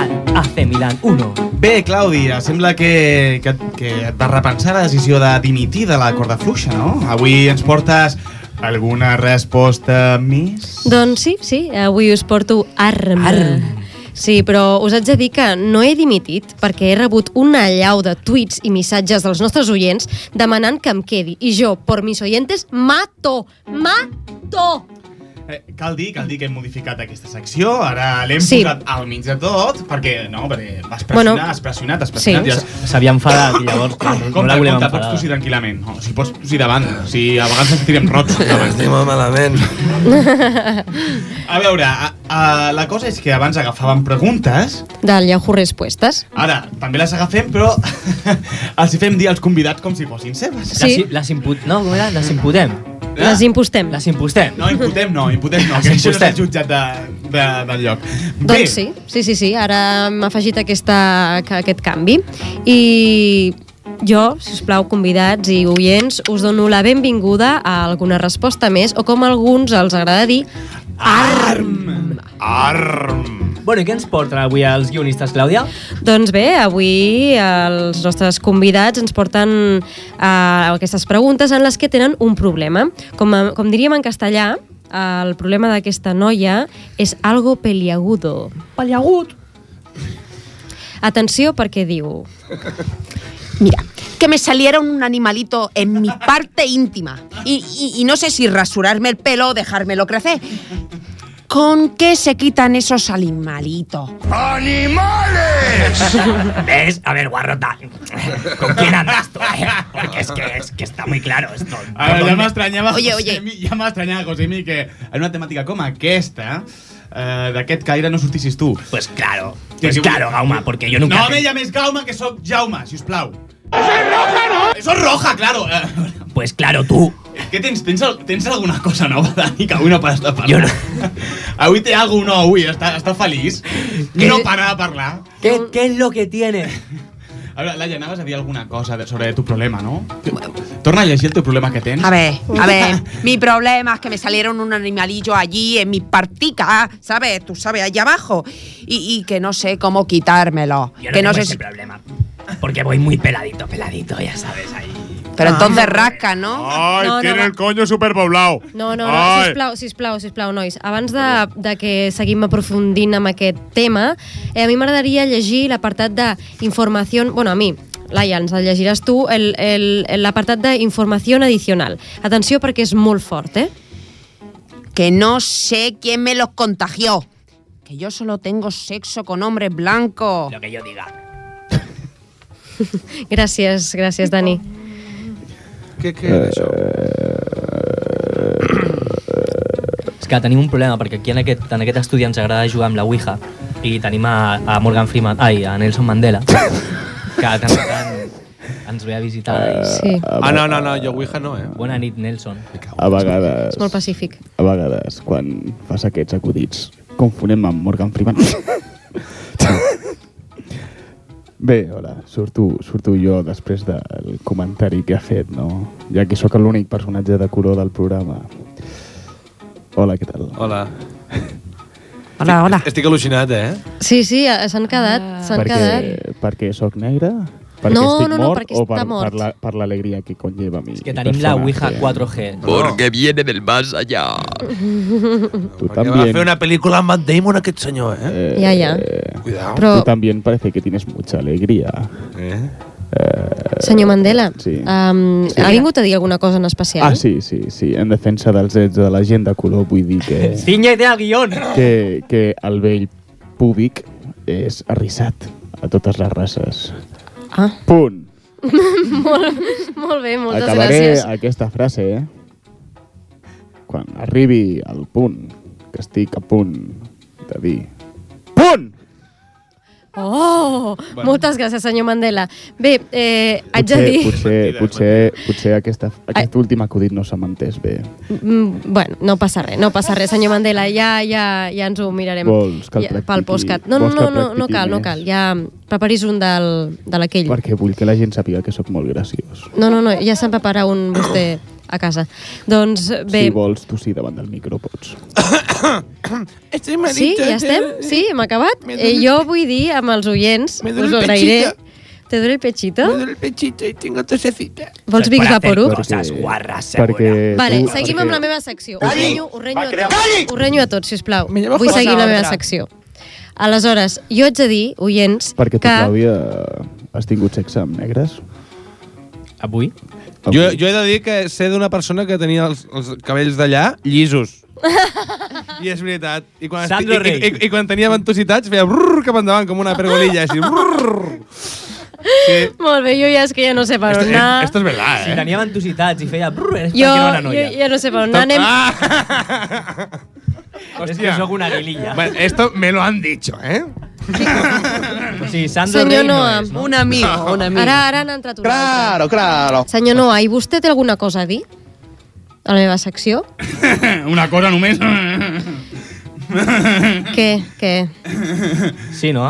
S5: Al AC Milan 1.
S1: Bé, Clàudia, sembla que, que, que et vas repensar la decisió de dimitir de la corda fluixa, no? Avui ens portes alguna resposta més?
S2: Doncs sí, sí, avui us porto ARM. ARM. Sí, però us haig de dir que no he dimitit perquè he rebut una allau de tuits i missatges dels nostres oients demanant que em quedi. I jo, por mis oyentes, mato, mato. *laughs*
S1: Eh, cal dir, cal dir que hem modificat aquesta secció, ara l'hem
S2: Sí.
S1: sí. posat al mig de tot, perquè, no, perquè has pressionat,
S2: Bueno,
S1: bueno, has pressionat, has pressionat.
S2: sí.
S1: Sí.
S5: S'havia enfadat i llavors clar, no, no
S1: Compte,
S5: la volem
S1: compte, pots
S5: enfadar.
S1: tossir tranquil·lament. No, si pots tossir davant, si a vegades ens tirem rots.
S7: Estem malament.
S1: A veure, a, a, la cosa és que abans agafàvem preguntes,
S2: Del Yahoo Respuestas.
S1: ara també les agafem, però *laughs* els hi fem dir als convidats com si fossin seves.
S5: Les, i- les imput... No, com era? Les imputem.
S1: Ah,
S2: Les impostem.
S5: Les impostem.
S1: No, imputem no, imputem no, que això no és jutjat de, de, del lloc. Bé,
S2: Doncs sí, sí, sí, sí. Ara hem afegit aquesta, ca- aquest canvi. I jo, si us plau, convidats i oients, us dono la benvinguda a alguna resposta més, o com a alguns els agrada dir,
S5: Arm. Bueno, i què ens porten avui els guionistes, Clàudia?
S2: Doncs bé, avui els nostres convidats ens porten eh, aquestes preguntes en les que tenen un problema. Com, a- com diríem en castellà, eh, el problema d'aquesta noia és algo peliagudo.
S16: Paliagut.
S2: Atenció perquè diu...
S17: *laughs* que me saliera un animalito en mi parte íntima. Y, y- y no sé si rasurarme el pelo o dejármelo crecer. ¿Con qué se quitan esos animalitos?
S10: ¡Animales! ¿Ves? A ver, guarrota. ¿Con quién andas tú? eh? Porque es que, es que está muy claro esto.
S1: A veure, ja m'estranyava
S10: Oye,
S1: José
S10: oye.
S1: Mi- ja m'estranyava Josemi que en una temàtica com aquesta eh, d'aquest caire no sortissis tu.
S10: Pues claro, pues claro, Gauma, porque yo nunca-
S1: No me llames Gauma, que sóc Jaume, sisplau. Eso es roja, no? Eso es roja, claro. *laughs*
S10: Pues claro, tú.
S1: Què tens? Tens, al- tens alguna cosa nova, Dani, que avui no pares de parlar? Jo no. *laughs* Avui té algo nou, avui, està, està feliç.
S5: Què-
S1: No para de parlar.
S5: Què, què és lo que tiene?
S1: A veure, Laia, anaves a dir alguna cosa de- sobre tu problema, no? Torna a llegir el teu problema que tens.
S17: A ver, a
S2: *laughs*
S17: ver, mi problema es que me salieron un animalillo allí en mi partica, ¿sabes? Tú sabes, allá abajo. Y, y que no sé cómo quitármelo.
S10: Yo no
S17: que
S10: tengo
S17: no sé
S10: ese
S17: si-
S10: problema. Porque voy muy peladito, peladito, ya sabes, ahí.
S17: Pero entonces rasca, ¿no?
S4: Ay,
S2: Ah. No, no,
S4: tiene
S2: va.
S4: el coño superpoblado.
S2: No, no, no,
S4: Ai.
S2: sisplau, sisplau, sisplau, nois. Abans de, de que seguim aprofundint amb aquest tema, eh, a mi m'agradaria llegir l'apartat d'informació... Bueno, a mi, Laia, ens el llegiràs tu, el- el- l'apartat d'informació addicional. Atenció perquè és molt fort, eh?
S17: que no sé quién me los contagió. Que yo solo tengo sexo con hombres blancos. Lo
S10: que yo diga.
S2: Gràcies, gràcies, Dani.
S7: Què, què era
S5: Eh,
S7: això?
S5: És que tenim un problema, perquè aquí en aquest, en aquest estudi ens agrada jugar amb la Ouija i tenim a, a Morgan Freeman, ai, a Nelson
S7: *laughs*
S5: Mandela, que de tant en tant ens ve a visitar. I...
S2: Eh, Sí.
S7: Ah, no, no, no, jo Ouija no, eh?
S5: Bona nit, Nelson.
S18: A vegades,
S2: És molt pacífic.
S18: a vegades, quan fas aquests acudits, confonem amb Morgan Freeman. *laughs* Bé, hola, surto, surto jo després del comentari que ha fet, no? Ja que sóc l'únic personatge de color del programa. Hola, què tal?
S7: Hola.
S17: Hola, hola.
S7: Estic al·lucinat, eh?
S2: Sí, sí, eh, s'han quedat, s'han quedat.
S18: perquè, eh, perquè sóc negre? Perquè
S2: No,
S18: estic
S2: no, no,
S18: mort
S2: perquè
S18: o per,
S2: està mort.
S18: per la- per l'alegria que conlleva mi És
S5: que tenim la Ouija 4G.
S19: Porque viene del más allá.
S18: Tu
S7: També. Va
S18: també.
S7: fer una pel·lícula amb Matt Damon, aquest senyor, eh?
S18: Eh,
S2: Ja, ja.
S7: Cuidado.
S2: Però-
S18: Tú también parece que tienes mucha alegría.
S2: Senyor Mandela,
S18: Sí.
S2: um,
S18: Sí.
S2: ha vingut a dir alguna cosa en especial?
S18: Ah, sí, sí, sí. En
S5: *laughs*
S18: defensa dels drets de la gent de color vull dir que,
S5: Cinya i té el guion!
S18: que, que el vell púbic és arrissat a totes les races.
S17: Ah.
S18: Punt.
S2: *laughs* molt, molt bé, moltes
S18: Acabaré
S2: gràcies.
S18: aquesta frase, eh? Quan arribi al punt que estic a punt de dir... Punt!
S2: Oh, bueno. moltes gràcies, senyor Mandela. Bé, eh, haig de
S18: Potser,
S2: dir...
S18: potser, potser, potser aquesta, aquest últim acudit no s'ha m'entès bé.
S2: Mm, bueno, no passa res, no passa res, senyor Mandela. Ja, ja, ja ens ho mirarem
S18: Vols que el
S2: ja, pel
S18: practiqui-
S2: postcat. No, no,
S18: vols que
S2: no, no, no
S18: practiqui
S2: cal, no
S18: més?
S2: cal. Ja preparis un del, de l'aquell.
S18: Perquè vull que la gent sàpiga que sóc molt graciós.
S2: No, no, no, ja se'n prepara un vostè a casa. Doncs bé...
S18: Si vols tossir davant del micro, pots.
S2: Estem sí, ja estem? Sí, hem acabat?
S16: eh? Me duele
S2: Eh,
S16: el
S2: jo vull dir amb els oients,
S16: Me duele
S2: us ho
S16: el
S2: agrairé.
S16: pechito.
S2: ¿Te duele el pechito? Me duele el pechito y tengo tosecita. Vols
S16: Se
S2: Big
S16: puede hacer
S2: Vaporub?
S16: cosas guarras, seguro.
S18: Perquè
S2: Vale,
S18: tu,
S2: seguim
S18: perquè-
S2: amb la meva secció. Ho
S18: Calli!
S2: renyo, ho renyo, a tot, ho renyo a tot, sisplau. Vull
S16: Fosa
S2: seguir la meva
S16: altra.
S2: secció. Aleshores, jo haig de dir, oients,
S18: Perquè tu,
S2: que...
S18: Clàudia, has tingut sexe amb negres?
S5: Avui?
S7: Jo, jo he de dir que sé d'una persona que tenia els, els cabells d'allà llisos. I és veritat. I quan,
S5: Sandro
S7: i, i, i, i quan tenia ventositats feia brrr cap endavant com una
S2: *laughs*
S7: pergolilla. Així, brrr.
S2: Eh. Molt bé, jo ja és que ja no sé per on anar.
S7: Esto es verdad,
S5: Si
S7: eh?
S5: tenia ventositats i feia... Brrr, és
S2: Jo,
S5: perquè era una
S2: jo
S5: noia.
S2: ja no sé per on anar. Anem...
S5: És que sóc una guililla.
S7: Bueno, esto me lo han dicho, eh?
S5: *laughs* Sí, Sandro
S2: Senyor
S5: Rey no
S2: Noa,
S5: és, no?
S2: un amigo,
S5: *laughs*
S2: un amigo. Ara, ara han entrat una altra.
S7: Claro, claro.
S2: Senyor Noa, i vostè té alguna cosa a dir? A la meva secció?
S10: *laughs* Una cosa
S18: *laughs*
S10: només...
S2: Què? Què?
S5: Sí, no?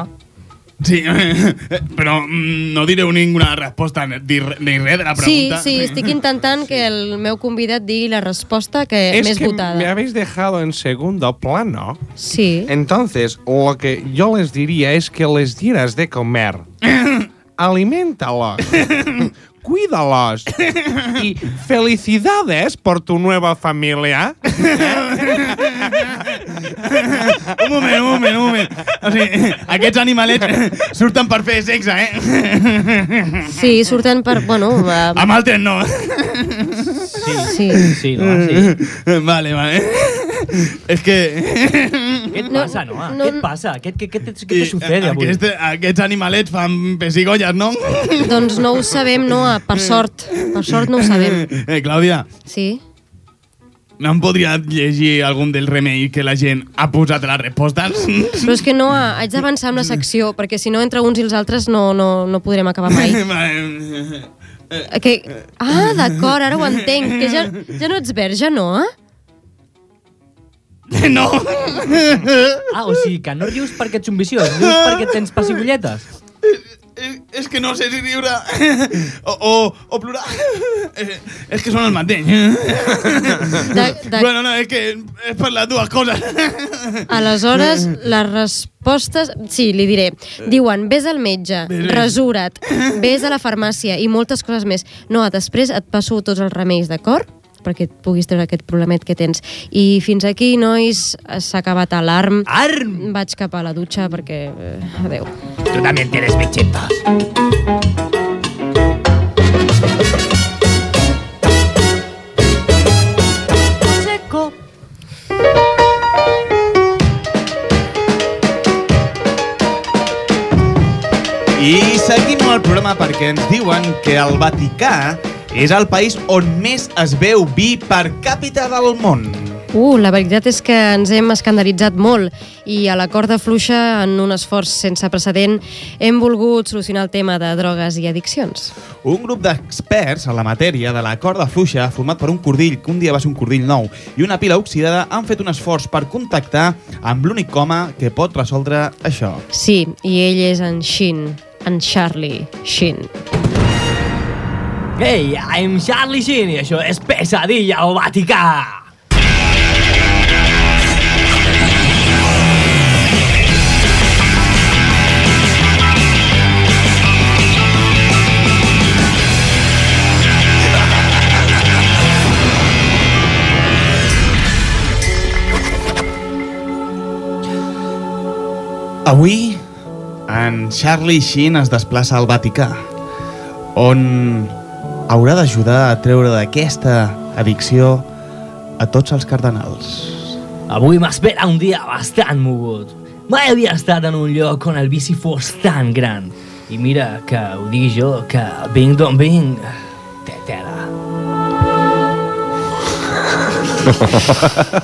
S10: Sí, *laughs* però mm, no direu ninguna resposta ni re- ni res de la
S2: Sí,
S10: pregunta.
S2: sí, estic intentant que el meu convidat digui la resposta que
S7: es
S2: Eh, més
S7: que me
S2: votada.
S7: habéis dejado en segundo plano.
S2: Sí.
S7: Entonces, lo que yo les diría es que les dieras de *coughs* comer. Aliméntalos. *coughs* Cuídalos.
S5: *laughs*
S7: y felicidades por tu nueva familia.
S10: un moment, un moment, un moment. O sigui, aquests animalets surten per fer sexe,
S18: *laughs*
S10: eh?
S2: Sí, surten per... Bueno,
S5: *laughs*
S2: va-
S10: Amb altres no.
S2: Sí.
S5: Sí,
S10: no, sí. *laughs* Vale,
S5: *laughs*
S10: vale. És que...
S5: Què et passa, Noa?
S10: no-
S5: Què et passa? Què, què, què, te- què te sucede
S1: eh,
S5: avui?
S10: Aquest, aquests animalets fan pessigolles, no?
S2: Doncs no ho sabem, Noa, per sort. Per sort no ho sabem.
S10: Eh, Clàudia,
S2: Sí?
S10: no em podria llegir algun del remei que la gent ha posat a les respostes?
S2: Però és que, Noa, haig d'avançar amb la secció, perquè si no, entre uns i els altres no, no, no podrem acabar mai.
S10: *laughs* Vale. Eh,
S2: Que... Ah, d'acord, ara ho entenc. Que ja, ja no ah? ets verge, Noa?
S10: No!
S5: Ah, o sigui, que no rius perquè ets un viciós, rius perquè tens pessigolletes.
S10: És que no sé si riure o, o, o plorar. Eh, És que són el mateix. Bueno, no, és que és per les dues coses.
S2: Aleshores, les respostes... Sí, li diré. Diuen, vés al metge, resura't, vés a la farmàcia i moltes coses més. No, després et passo tots els remeis, d'acord? perquè et puguis treure aquest problemet que tens. I fins aquí, nois, s'ha acabat l'arm.
S5: Arm!
S2: Vaig cap a la dutxa perquè... eh, Adéu.
S16: Tú también tienes bichitos. Seco.
S1: I seguim amb el programa perquè ens diuen que el Vaticà és el país on més es veu vi per càpita del món.
S2: Uh, la veritat és que ens hem escandalitzat molt i a la corda fluixa, en un esforç sense precedent, hem volgut solucionar el tema de drogues i addiccions.
S1: Un grup d'experts en la matèria de la corda fluixa, format per un cordill, que un dia va ser un cordill nou, i una pila oxidada, han fet un esforç per contactar amb l'únic home que pot resoldre això.
S2: Sí, i ell és en Shin, en Charlie Shin.
S5: Hey, I'm Charlie Sheen i això és Pesadilla al Vaticà.
S1: Avui, en Charlie Sheen es desplaça al Vaticà, on haurà d'ajudar a treure d'aquesta addicció a tots els cardenals.
S5: Avui m'espera un dia bastant mogut. Mai havia estat en un lloc on el vici fos tan gran. I mira, que ho digui jo, que vinc d'on vinc, té tela.
S1: *laughs*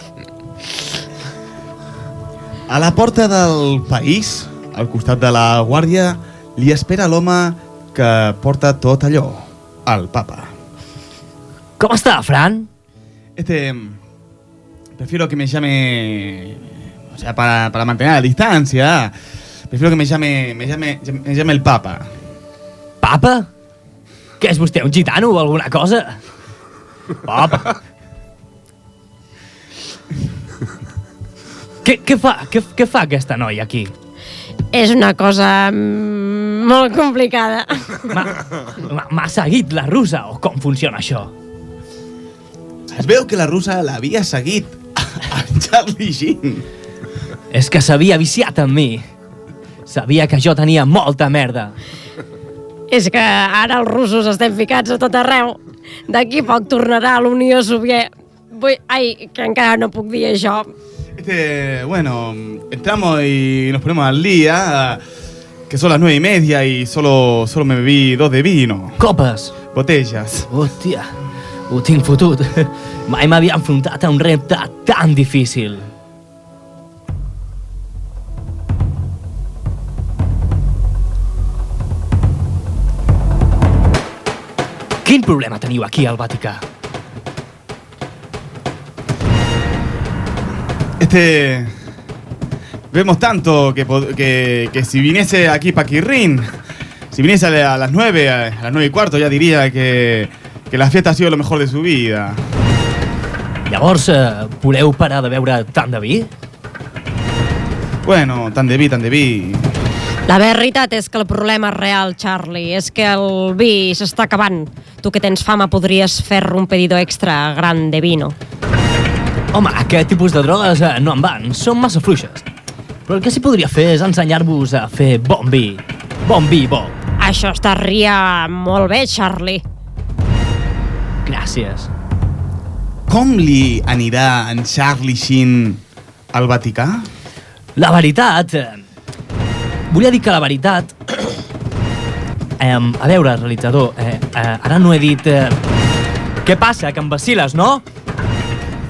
S1: A la porta del país, al costat de la guàrdia, li espera l'home que porta tot allò, el papa.
S5: Com està, Fran?
S1: Este... Prefiero que me llame... O sea, para, para mantener la distancia. Prefiero que me llame, me llame, me llame el papa.
S5: Papa? Que és vostè un gitano o alguna cosa? Papa. què, què, fa, què, què fa aquesta noia aquí?
S2: És una cosa mm, molt complicada.
S5: M'ha- M'ha seguit la russa o com funciona això?
S1: Es veu que la russa l'havia seguit en Charlie Sheen.
S5: És que s'havia viciat amb mi. Sabia que jo tenia molta merda.
S2: És que ara els russos estem ficats a tot arreu. D'aquí a poc tornarà a la Unió Soviètica. Vull... Ai, que encara no puc dir això.
S1: Este, bueno, entramos y nos ponemos al día, que son las nueve y media y solo, solo me bebí dos de vino.
S5: Copas.
S1: Botellas.
S5: Hòstia, ho Oh, tinc fotut. Mai m'havia enfrontat a un repte tan difícil. Quin problema teniu aquí al Vaticà?
S1: Este, vemos tanto que, pod- que, que si viniese aquí Paquirrín, si viniese a la- a las nueve, a las nueve y cuarto, ya diría que, que la fiesta ha sido lo mejor de su vida.
S5: Llavors, eh, voleu parar de beure tant de vi?
S1: Bueno, tan de vi, tan de vi.
S2: La veritat és que el problema real, Charlie, és que el vi s'està acabant. Tu que tens fama podries fer un pedido extra gran de vino.
S5: Home, aquest tipus de drogues eh, no em van, són massa fluixes. Però el que sí podria fer és ensenyar-vos a fer bon vi. Bon vi, bo.
S2: Això estaria molt bé, Charlie.
S5: Gràcies.
S1: Com li anirà en Charlie Sheen al Vaticà?
S5: La veritat... Eh, volia dir que la veritat... Eh, a veure, realitzador, eh, eh, ara no he dit... Eh, què passa, que em vaciles, no?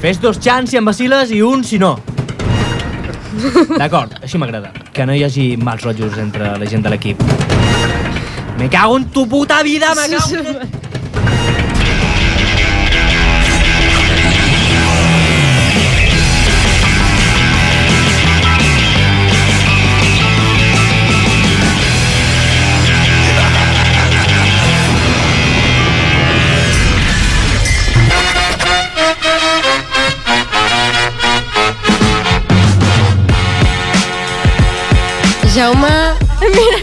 S5: Fes dos xans si em vaciles i un si no. D'acord, així m'agrada. Que no hi hagi mals rotllos entre la gent de l'equip. Me cago en tu puta vida, me cago en...
S2: Jaume... Mira...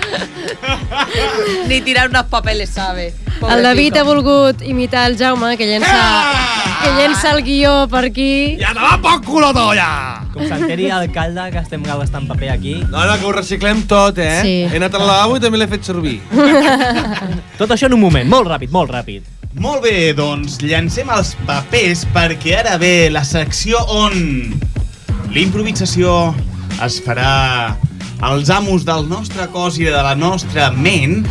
S9: *laughs* Ni tirar unos papeles, ¿sabes?
S2: El David ha volgut imitar el Jaume, que llença,
S5: Ah!
S2: que llença el guió per aquí.
S5: Ja te va poc culo todo, ja! Com s'enteri l'alcalde que estem gastant paper aquí.
S7: No, no, que ho reciclem tot, eh?
S5: Sí.
S7: He anat al lavabo i també l'he fet servir.
S5: Tot això en un moment, molt ràpid, molt ràpid.
S1: Molt bé, doncs llancem els papers perquè ara ve la secció on l'improvisació es farà als amos del nostre cos i de la nostra ment.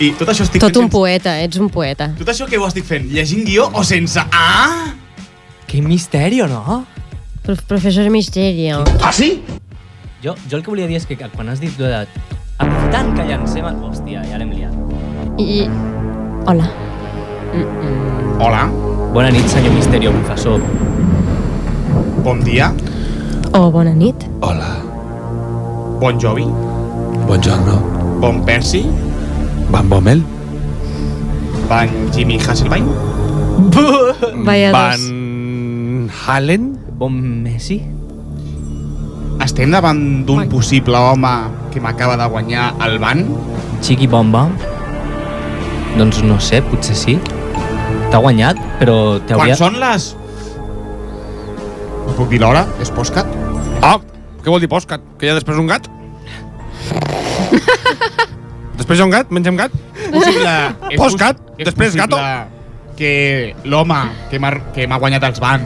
S1: I tot això
S2: *laughs*
S1: estic
S2: Tot
S1: fent
S2: un poeta, ets un poeta.
S1: Tot això que ho estic fent, llegint guió o sense? Ah!
S5: Quin misteri, no?
S2: Prof professor Misterio.
S5: Ah, sí? Jo, jo el que volia dir és que que quan has dit lo de... Aprofitant que llancem... el- Hòstia, ja l'hem liat.
S2: I... Hola.
S1: Hola.
S5: Bona nit, senyor Misterio, professor.
S1: Bon dia.
S2: Oh, bona nit.
S1: Bon Jovi.
S4: Buongiorno.
S1: Bon Percy.
S4: Van Bommel.
S1: Van Jimmy Hasselbein.
S2: Vaya dos.
S1: Van Halen.
S5: Bon Messi.
S1: Estem davant d'un possible home que m'acaba de guanyar el van?
S5: Chiqui Bomba. Doncs no sé, potser sí. T'ha guanyat, però
S1: Quan
S5: t'hauria...
S1: són les... No puc dir l'hora? És postcat?
S7: Ah, què vol dir postcat? Que hi ha després un
S2: *laughs*
S7: gat? després hi ha un gat? Mengem gat?
S1: Possible. És
S7: Postcat?
S1: pos- és
S7: Després gato?
S1: possible Que l'home que m'ha que m'ha guanyat els van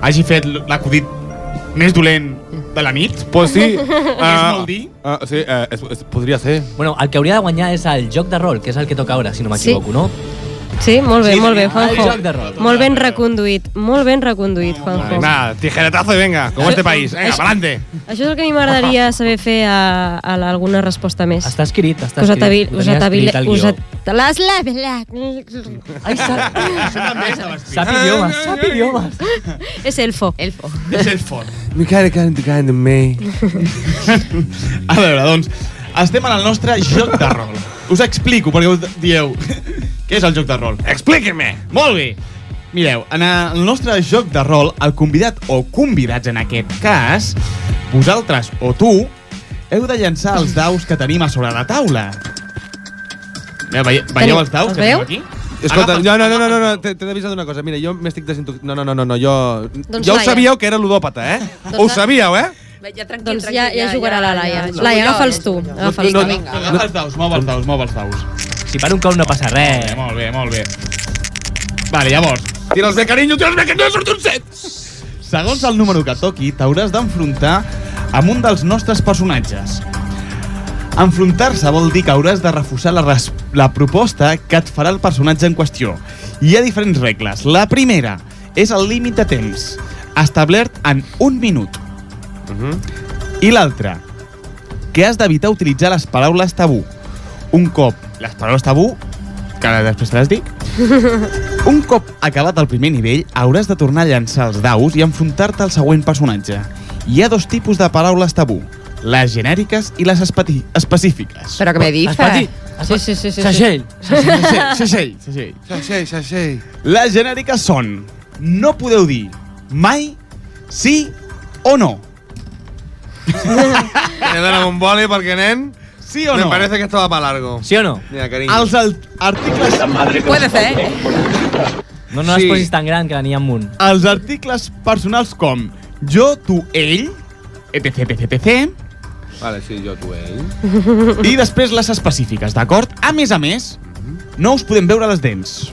S1: hagi fet l- l'acudit
S10: més dolent de la nit?
S5: Pues sí,
S10: *laughs* és
S5: ah,
S10: molt dir.
S5: Ah, sí, eh, es, es, podria ser. Bueno, el que hauria de guanyar és el joc de rol, que és el que toca ara, si no m'equivoco, sí. no?
S2: Sí, molt bé,
S5: Sí,
S2: molt bé,
S5: el
S2: Juanjo.
S5: joc de rol.
S2: Molt ben reconduït, molt ben reconduït, Juanjo.
S10: Nada, tijeretazo y venga, como este país. Venga,
S2: Eso-
S10: pa'lante.
S2: Això és el que a mi m'agradaria saber fer a, a la- alguna resposta més.
S5: Està escrit, està
S2: Que us
S5: escrit.
S2: atabil,
S5: Ho
S2: us
S5: tenia
S2: atabil,
S5: escrit al
S2: us
S5: guió.
S2: at... Les levelas.
S5: Ai, sap, sap
S4: Ah,
S5: idiomes,
S4: ah,
S5: sap idiomes.
S2: *laughs* És elfo. Elfo.
S1: És el
S2: *laughs*
S1: fort.
S7: Mi cara kind of kind of me.
S1: A veure, doncs, estem en el nostre joc de rol. Us explico, perquè us dieu... Què és el joc de rol?
S10: Expliqui-me!
S1: Molt bé! Mireu, en el nostre joc de rol, el convidat o convidats en aquest cas, vosaltres o tu, heu de llançar els daus que tenim a sobre la taula. Ve- Veieu, veieu els daus que tenim aquí?
S7: Escolta,
S1: Agafa-
S7: no, no, no, no, no, no t'he t'he d'avisar d'una cosa. Mira, jo m'estic desintoxicant. No, no, no, no, no, jo...
S2: Doncs
S7: ja ho
S2: Laia.
S7: sabíeu que era ludòpata, eh?
S2: Doncs
S7: Ho
S2: la-
S7: sabíeu, eh?
S9: Ja, tranquil,
S2: Doncs ja, ja jugarà la Laia.
S9: ja.
S2: Laia, agafa'ls tu. Agafa'ls tu.
S1: Agafa els daus, mou els daus, mou els daus.
S5: Si per un cop no passa res.
S1: Molt bé, molt bé. Vale, llavors.
S7: Tira'ls bé, carinyo, tira'ls bé, que no surt un set!
S1: Segons el número que toqui, t'hauràs d'enfrontar amb un dels nostres personatges. Enfrontar-se vol dir que hauràs de refusar la, res- la proposta que et farà el personatge en qüestió. Hi ha diferents regles. La primera és el límit de temps, establert en un minut.
S5: Mhm.
S1: I l'altra, que has d'evitar utilitzar les paraules tabú. Un cop les paraules tabú, que ara després te les dic, un cop acabat el primer nivell, hauràs de tornar a llançar els daus i enfrontar-te al següent personatge. Hi ha dos tipus de paraules tabú, les genèriques i les espati- específiques.
S17: Però què me dices?
S1: Espati-
S17: Sí, sí, sí, sí.
S2: *laughs*
S1: Segell. Segell, segell.
S7: Segell, segell.
S1: Les genèriques són no podeu dir mai sí o no.
S7: He donat un boli perquè, nen...
S1: Sí o no?
S7: Me parece que esto va para largo.
S5: Sí o no?
S7: Mira, cariño.
S1: Els al- articles...
S9: Puede ser, eh?
S5: No, no les
S1: Sí.
S5: posis tan gran que n'hi ha amunt.
S1: Els articles personals com jo, tu, ell, etc, etc, etc,
S7: Vale, sí, jo, tu, ell.
S1: i després les específiques, d'acord? A més a més, no us podem veure les dents.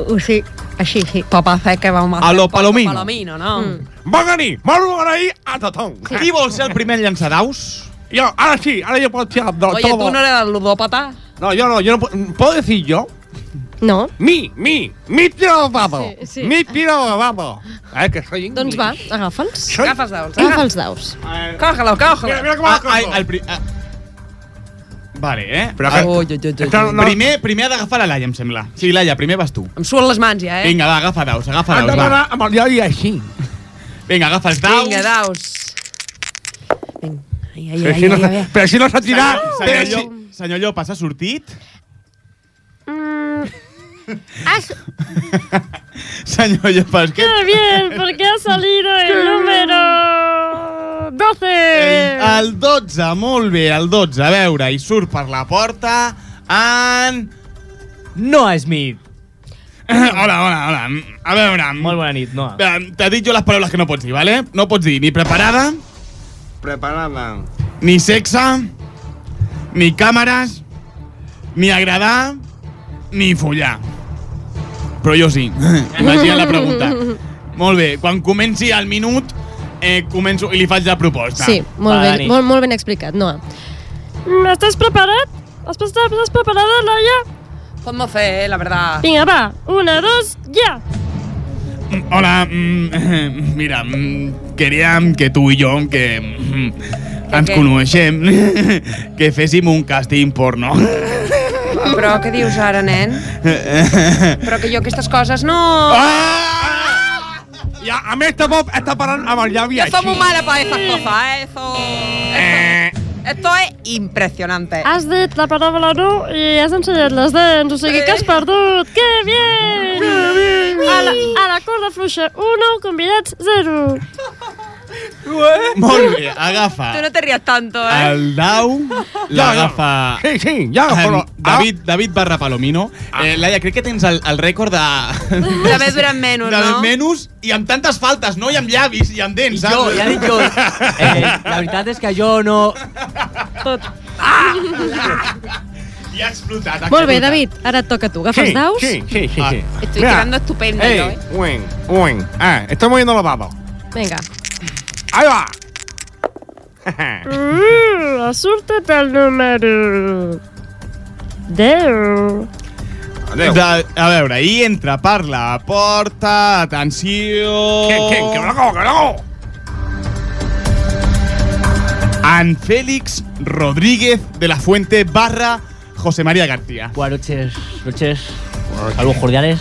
S17: Uh, sí, així, sí. Papa, fe que vam
S1: A lo palomino.
S17: Palomino, no? Mm.
S10: Bon venir, molt bon venir a tothom.
S1: Sí. Qui vol ser el primer en llançar daus?
S10: Jo, ara sí, ara jo puc tirar de
S9: Oye, ¿tú no eres el ludópata?
S10: No, yo no, yo no puedo... ¿Puedo decir yo?
S2: No.
S10: Mi, mi, mi tiro babado.
S2: Eh, Sí, sí.
S10: Mi tiro babado. A
S4: Eh,
S10: ver, que soy inglés.
S2: Doncs va, agafa'ls.
S10: Soy- Agafa els
S9: daus.
S2: Agafa els daus.
S4: Eh,
S9: Cógelo, cógelo.
S10: Mira, mira com va.
S1: Ai, el pri... ah. Vale, eh? Però
S9: que- Ui, ui, ui, ui. Clar, no-
S1: Primer, primer ha d'agafar la Laia, em sembla. Sí, Laia, primer vas tu.
S9: Em suen les mans ja, eh?
S1: Vinga, va, agafa daus, agafa
S10: Hem
S1: daus,
S10: d'anar
S1: va.
S10: amb el diari així.
S1: Vinga, agafa els daus.
S9: Vinga, daus.
S17: Ai,
S10: Però si no s'ha- però si no s'ha tirat, però
S1: Senyor,
S10: si-
S1: Llop, senyor Llop, s'ha sortit? *laughs* Senyor Llop, és que...
S12: Qué bien, porque ha salido el número 12.
S1: El 12, molt bé, el 12. A veure, i surt per la porta en...
S5: Noah Smith.
S1: *coughs* hola, hola, hola. A veure...
S5: Molt bona nit, Noah.
S1: Eh, T'he dit jo les paraules que no pots dir, vale? No pots dir ni preparada,
S7: Preparada.
S1: ni sexe, ni càmeres, ni agradar, ni follar. Però jo sí. *laughs*
S4: Eh,
S1: Imagina la
S2: *laughs*
S1: pregunta. *laughs* Molt bé, quan comenci el minut, eh, començo i li faig la proposta.
S2: Sí, molt ben, molt, molt ben explicat, Noa.
S12: ¿Estás preparado? ¿Estás, estás preparada, Laia?
S9: Podemos fer, eh, la verdad.
S12: Vinga, va. Una, dos, ya.
S1: Hola, mm, *laughs* mira, mm, queríem que tu i jo, que mm, ens
S9: què?
S1: coneixem, *laughs* que féssim un càsting porno. *laughs*
S9: Però què dius ara, nen? Però que jo aquestes coses no...
S10: Ah! Ja, a més, tampoc està parlant amb el llavi
S9: Yo
S10: així. Eh.
S9: soy muy mala para esas cosas, eh. Eso... Esto es impresionante.
S12: Has dit la paraula no i has ensenyat les dents, o sigui que has perdut. Que bien! A la, a la corda fluixa 1, convidats 0.
S1: Molt bé,
S4: ah.
S1: agafa
S9: Tú no te rías tanto, eh.
S1: el dau, l'agafa...
S10: Sí, sí, ja agafo-lo.
S1: em, David, David barra Palomino.
S10: Ah.
S1: Eh, Laia, crec que tens el, el rècord de...
S9: La vez duran menos,
S1: de
S9: ¿no?
S1: menús i amb tantes faltes, no? I amb llavis i amb dents, saps?
S5: Jo, ja dic
S1: *laughs*
S5: jo. Eh, la veritat és que jo no...
S12: Tot.
S1: Ah! I ha explotat. ha
S2: Molt bé,
S1: explotat.
S2: David, ara et toca a tu. Agafa els daus.
S10: sí, sí. sí.
S9: Estoy
S10: Mira.
S9: quedando estupendo
S10: Ey,
S9: yo, eh.
S10: un, un. Ah, estoy moviendo los babos.
S2: Vinga.
S4: Ahí va.
S12: Uh, ha sortit el número... 10.
S1: De, a veure, i entra per la porta, atenció...
S4: Que, que, que me lo como, que me lo como.
S1: En Félix Rodríguez de la Fuente barra José María García.
S5: Buenas noches, noches. Saludos cordiales.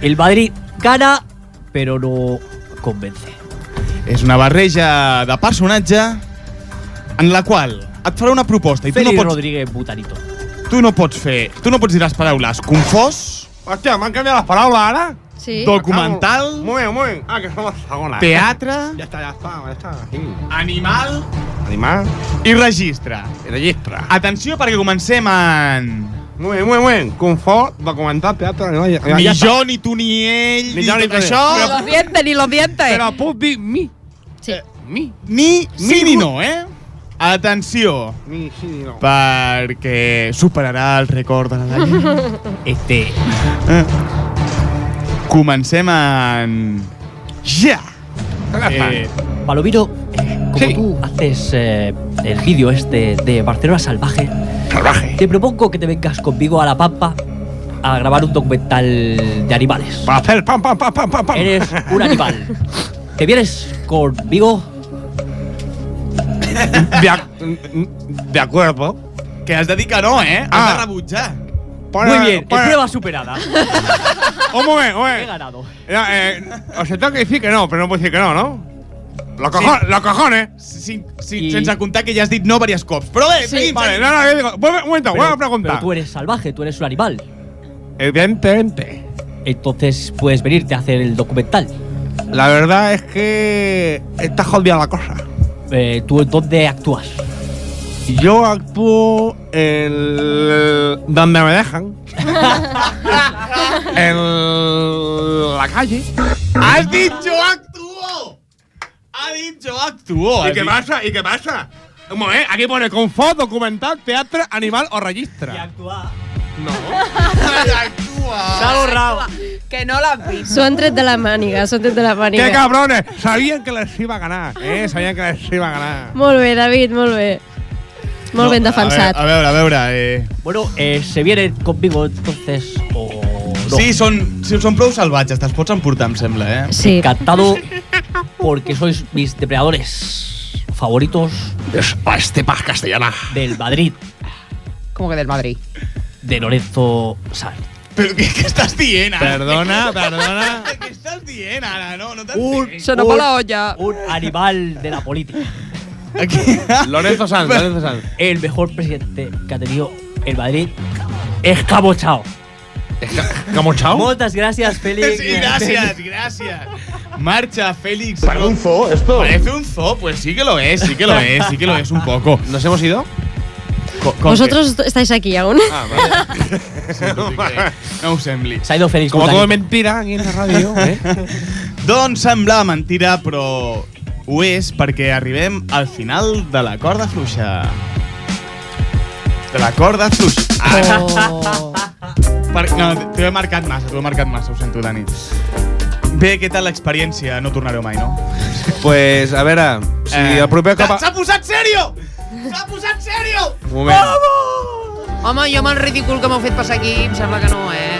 S5: El Madrid gana, pero no convence.
S1: És una barreja de personatge en la qual et farà una proposta i tu no
S5: Félix
S1: pots,
S5: Rodríguez Butarito.
S1: tu no pots fer, tu no pots dir les paraules confós,
S7: Hòstia, m'han canviat les paraules, ara?
S2: Sí.
S1: documental,
S7: Un moment, un moment. Ah, que som a la segona.
S1: Teatre.
S7: Ja està, ja està, ja està. Sí.
S1: animal
S7: Animal.
S1: i registre.
S7: Registre. eh,
S1: Atenció perquè comencem en...
S7: Un moment, un moment, un moment. Confort, documental, teatre, animal... Ja, ja,
S1: Ni
S7: ja està.
S1: jo, ni tu, ni ell, ni,
S7: Ni jo, ni
S1: tot
S7: tu, ni-
S1: això...
S9: Ni lo miente, ni lo miente.
S7: Però puc dir mi.
S4: Eh,
S2: Sí. *laughs*
S7: Mi.
S1: Ni sí ni
S7: Ningú.
S1: no, eh? Atenció,
S7: Mi, sí, ni no.
S1: perquè superarà el record de la Dani. E Eh?
S5: Este.
S1: Comencem en... Ja!
S7: *laughs*
S5: Eh, Palomino, eh, como tú haces eh, el vídeo este de Barcelona Salvaje, te propongo que te vengas conmigo a La Pampa a grabar un documental de animales.
S7: Va a hacer pam, pam, pam, pam, pam, pam.
S5: Eres
S7: *laughs*
S5: un animal. ¿Te vienes conmigo?
S7: De, ac- de acuerdo.
S1: Que has de dir que no, eh? Has
S7: Ah.
S1: de rebutjar.
S7: Pon-
S5: Muy bien,
S7: pon-
S5: prueba superada.
S7: *laughs* Un momento, un
S5: He
S7: momento.
S5: ganado.
S7: Ya, eh, os tengo que decir que no, pero no puedo decir que no, ¿no? Los,
S1: Sí.
S7: cojo- los cojones.
S1: Sí, sí, Sense comptar que ja has dit no diversos cops. Però bé, seguim,
S7: Vale,
S1: seguim.
S7: no, no, yo digo, vuelve- un momento, voy a
S5: pero
S7: preguntar.
S5: tú eres salvaje, tú eres un animal.
S7: Evidentemente.
S5: Entonces puedes venirte a hacer el documental.
S7: La verdad es que está jodida la cosa.
S5: Eh, ¿Tú dónde actúas?
S7: Yo actúo el donde me dejan. en la calle.
S1: Has dit jo actuo! Ha dit jo actuo. ha
S7: ¿Y qué
S1: dit.
S7: pasa? ¿Y qué pasa? Un momento, aquí pone confort, documental, teatro, animal o registra.
S9: S'ha borrat. Que no l'has vist.
S2: S'ho han tret de la màniga, s'ho han tret de la màniga.
S7: ¡Qué cabrones! Sabían que les iba a ganar, ¿eh? Sabían que les iba a ganar.
S2: Molt bé, David, molt bé. Molt
S1: No,
S2: ben defensat.
S1: A veure, a veure, a veure eh...
S5: Bueno, eh, se vienen conmigo entonces o no.
S1: Sí, són, sí, són prou salvatges, te'ls pots emportar, em sembla, eh?
S2: Sí.
S5: *laughs* Encantado porque sois mis depredadores favoritos
S1: este
S4: Estepa castellana.
S5: del Madrid,
S17: Como que del Madrid.
S5: de Lorenzo Sanz.
S1: Però què, què estàs dient ara? *laughs*
S7: Perdona, perdona.
S1: Què estàs dient ara? No, no
S5: Un,
S1: t'entenc.
S9: Se nos va la olla.
S5: un animal de la política.
S1: Aquí.
S7: *laughs* Lorenzo
S1: *laughs*
S7: Sanz, Lorenzo Sanz.
S5: El mejor presidente que ha tenido el Madrid es Cabochao.
S7: ¿Cómo chao?
S5: Muchas gracias, Félix.
S1: Sí, gracias, gracias. Marcha, Félix.
S4: un zoo esto?
S1: Parece un zoo, pues sí que lo es, sí que lo es, sí que lo es un poco.
S7: ¿Nos hemos ido?
S1: Co- com
S2: Vosotros estáis aquí aún.
S7: Ah, vale.
S1: que- sí, tot i que No ho sembli.
S5: Se ha ido Félix.
S7: Como todo es
S5: Butarito.
S7: mentira aquí en la radio, ¿eh?
S1: Doncs sembla mentira, però ho és perquè arribem al final de la corda fluixa. De la corda fluixa. Ah,
S4: *laughs*
S17: Oh.
S1: per, no, t'ho he marcat massa, t'ho he marcat massa, ho sento, Dani. Bé, què tal l'experiència? No tornareu mai, no?
S7: Pues, a ver, ah, si
S1: Eh,
S7: el propio capa...
S1: S'ha posat serio! S'ha posat serio!
S7: Un moment.
S17: Home, jo amb el ridícul que m'heu fet passar aquí, em sembla que no, eh?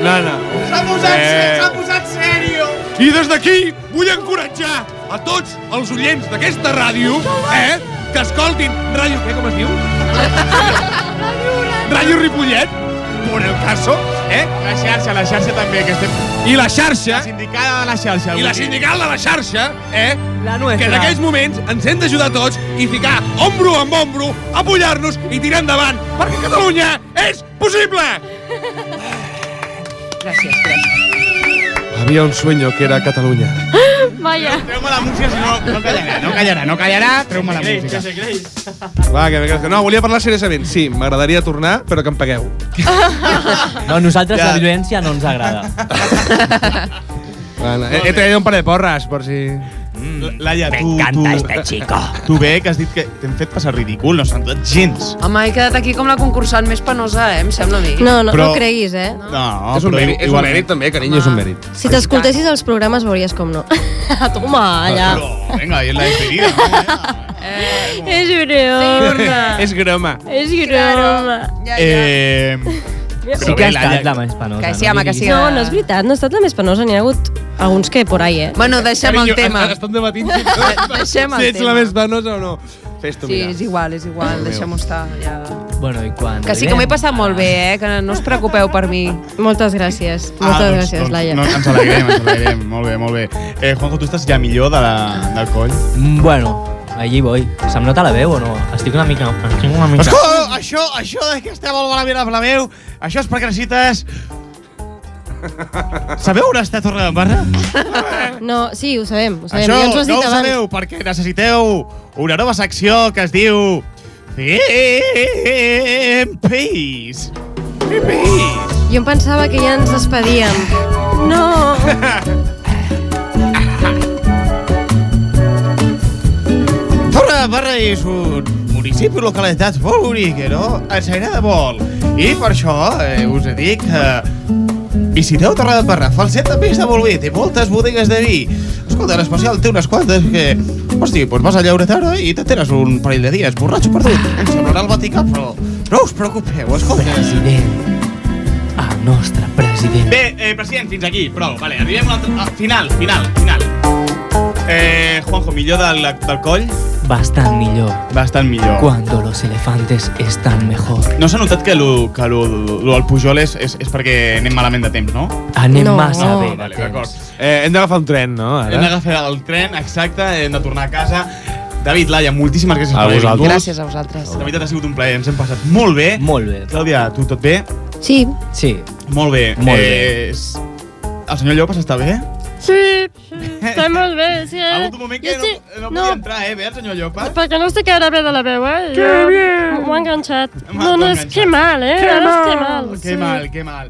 S7: No, no.
S1: S'ha posat,
S7: Eh.
S1: eh. s'ha posat serio!
S4: I des d'aquí vull encoratjar a tots els oients d'aquesta ràdio, eh, que escoltin Ràdio... Què, com es diu? Ràdio Ripollet, por el caso, eh?
S1: La xarxa, la xarxa també, que estem...
S4: I la xarxa,
S1: La sindicada de la xarxa.
S4: i la
S1: avui.
S4: sindical de la xarxa, eh?
S5: La
S4: Que en
S5: nuestra.
S4: aquells moments ens hem d'ajudar tots i ficar ombro amb ombro, apoyar-nos i tirar endavant, perquè Catalunya és possible!
S17: Gràcies, gràcies.
S7: Había un sueño que era Cataluña.
S12: Ah, Vaya.
S1: Treu-me la música, si no, no callarà, no callarà, no callarà, treu-me la música.
S7: Va, que, que, que no, volia parlar seriosament. Sí, m'agradaria tornar, però que em pagueu.
S5: *laughs* No, a nosaltres
S1: Ja.
S5: la
S7: *laughs*
S5: violència no ens agrada.
S7: Bueno, he, he traído un par de porras, por si...
S1: Laia, tu...
S10: M'encanta
S1: tu-
S10: este chico.
S1: Tu bé, que has dit que t'hem fet passar ridícul, no s'ha notat gens.
S9: Home, he quedat aquí com la concursant més penosa, eh? Em sembla a mi.
S2: No, no,
S1: Però-
S2: no creguis, eh?
S1: No, no
S7: és un mèrit, és un mèrit també, carinyo,
S4: Ah.
S7: és un mèrit.
S2: *laughs* Si t'escoltessis els programes veuries com no. *laughs* Toma, allà.
S1: Vinga, ahí la despedida.
S2: És broma.
S7: És groma.
S2: *laughs* És broma.
S1: Eh,
S5: Sí que ha estat la més penosa.
S17: Que sí, home, que sí.
S2: No, no és veritat, no ha estat la més penosa, n'hi ha hagut alguns que por ahí, eh?
S17: Bueno, deixem el
S1: *laughs*
S17: tema.
S7: Estan debatint
S9: Eh,
S17: Deixem el
S7: si ets la
S17: tema.
S7: més danosa o no. Fes-t'ho
S9: Sí,
S7: mirar.
S9: és igual, és igual, deixem-ho estar. Ja.
S5: Bueno, i quan...
S9: Que sí que m'ho he passat molt bé, eh? Que no us preocupeu per mi.
S2: Moltes gràcies. Moltes gràcies, Laia.
S1: Ah, doncs, No, ens alegrem, ens alegrem. molt bé, molt bé. Eh, Juanjo, tu estàs ja millor Ah, de la, del coll?
S5: Mm, Bueno, allí voy. Se'm nota la veu o no? Estic una mica... Estic una mica...
S1: Escolta, això, això de que esteu al Balabir de Blaveu, això és perquè necessites... Sabeu on està Torre d'en Barra?
S2: No, sí, ho sabem, ho sabem.
S1: Això
S2: ja
S1: no
S2: ens ho has dit
S1: ho
S2: abans.
S1: sabeu perquè necessiteu una nova secció que es diu... Fempis.
S2: Jo em pensava que ja ens despedíem. No!
S1: *laughs* Torre de Barra és un municipi i localitat molt bonica, no? Ens agrada molt. I per això eh, us dic que visiteu Torre de Barra. Falset també està molt bé, té moltes bodegues de vi. Escolta, en especial té unes quantes que... Hosti, doncs vas a Llauretana i t'atenes un parell de dies, borratxo perdut. Em semblarà el Vaticà, però no us preocupeu, escolta.
S5: President. El nostre president.
S1: Bé, eh, president, fins aquí, prou. Vale, arribem a l'altre... Ah, final, final, final. Eh, Juanjo, millor del, del coll?
S5: Bastant millor.
S1: Bastant millor.
S5: Cuando los elefantes están mejor.
S1: No s'ha notat que lo, que lo, lo del Pujol és, és, és perquè anem malament de temps, no?
S5: Anem
S1: No.
S5: massa
S1: No.
S5: bé de
S1: Vale,
S5: temps.
S1: d'acord.
S7: Eh, hem d'agafar un tren, no?
S1: Hem
S7: Ara?
S1: d'agafar el tren, exacte, hem de tornar a casa. David, Laia, moltíssimes gràcies
S7: A
S1: per haver
S7: vosaltres.
S1: vingut.
S9: Gràcies a vosaltres.
S1: La veritat ha sigut un plaer, ens hem passat molt bé.
S5: Molt bé.
S1: Clàudia, tu tot bé?
S2: Sí.
S5: Sí.
S1: Molt bé.
S5: Molt
S1: bé. Eh, el senyor Llopas està bé?
S12: Sí, està molt bé. Sí, eh?
S1: Ha hagut un moment que
S12: Jo estic-
S1: no, no podia entrar, eh, bé, el senyor Llopas?
S12: Perquè no estic ara bé de la veu, eh?
S1: Que
S12: Jo
S1: bé.
S12: M'ho ha enganxat.
S1: M'ha-
S12: No,
S1: t'ho
S12: no,
S1: ha
S12: és que mal, eh?
S1: Que
S12: Ara és que
S1: mal,
S12: mal.
S1: que mal, que mal.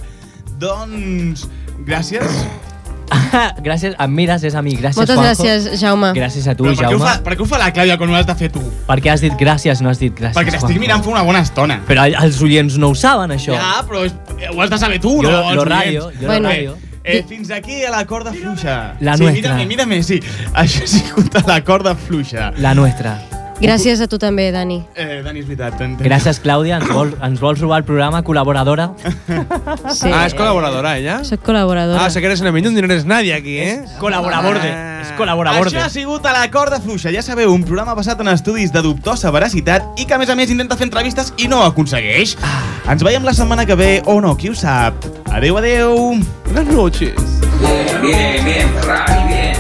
S1: Doncs, gràcies.
S5: *laughs* gràcies, em mires, és a mi. Gràcies,
S2: Moltes
S5: Juanjo.
S2: gràcies, Jaume.
S5: Gràcies a tu,
S1: Però per què, ho
S5: Jaume.
S1: fa, per què ho fa la Clàudia quan ho has de fer tu?
S5: Per què has dit gràcies, no has dit gràcies,
S1: Perquè t'estic
S5: Juanjo?
S1: mirant fa una bona estona.
S5: Però els oients no ho saben, això.
S1: Ja, però és, eh, ho has de saber tu,
S5: Jo
S1: no?
S5: lo-
S1: els
S5: lo
S1: oients.
S5: rayo, jo lo Bueno. rayo.
S1: Eh, eh, fins aquí a la corda fluixa.
S5: La
S1: sí,
S5: nuestra.
S1: Mírame, mírame, sí. Això sí compta la corda fluixa.
S5: La nuestra.
S2: Gràcies a tu també, Dani.
S1: Eh, Dani, és veritat. t'he entès.
S5: Gràcies, Clàudia. Ens, vol, ens vols robar el programa, col·laboradora?
S2: Sí.
S7: Ah, és col·laboradora, ella?
S2: Soc col·laboradora.
S7: Ah, sé que eres una minyona, no eres nadie aquí, eh?
S5: Col·laborador. És col·laborador.
S1: Això ha sigut a la corda fluixa. Ja sabeu, un programa basat en estudis de dubtosa veracitat i que, a més a més, intenta fer entrevistes i no ho aconsegueix.
S5: Ah.
S1: Ens veiem la setmana que ve, o no, qui ho sap. Adeu, adeu.
S7: Buenas noches.
S20: Bien, bien, Ferrari, bien.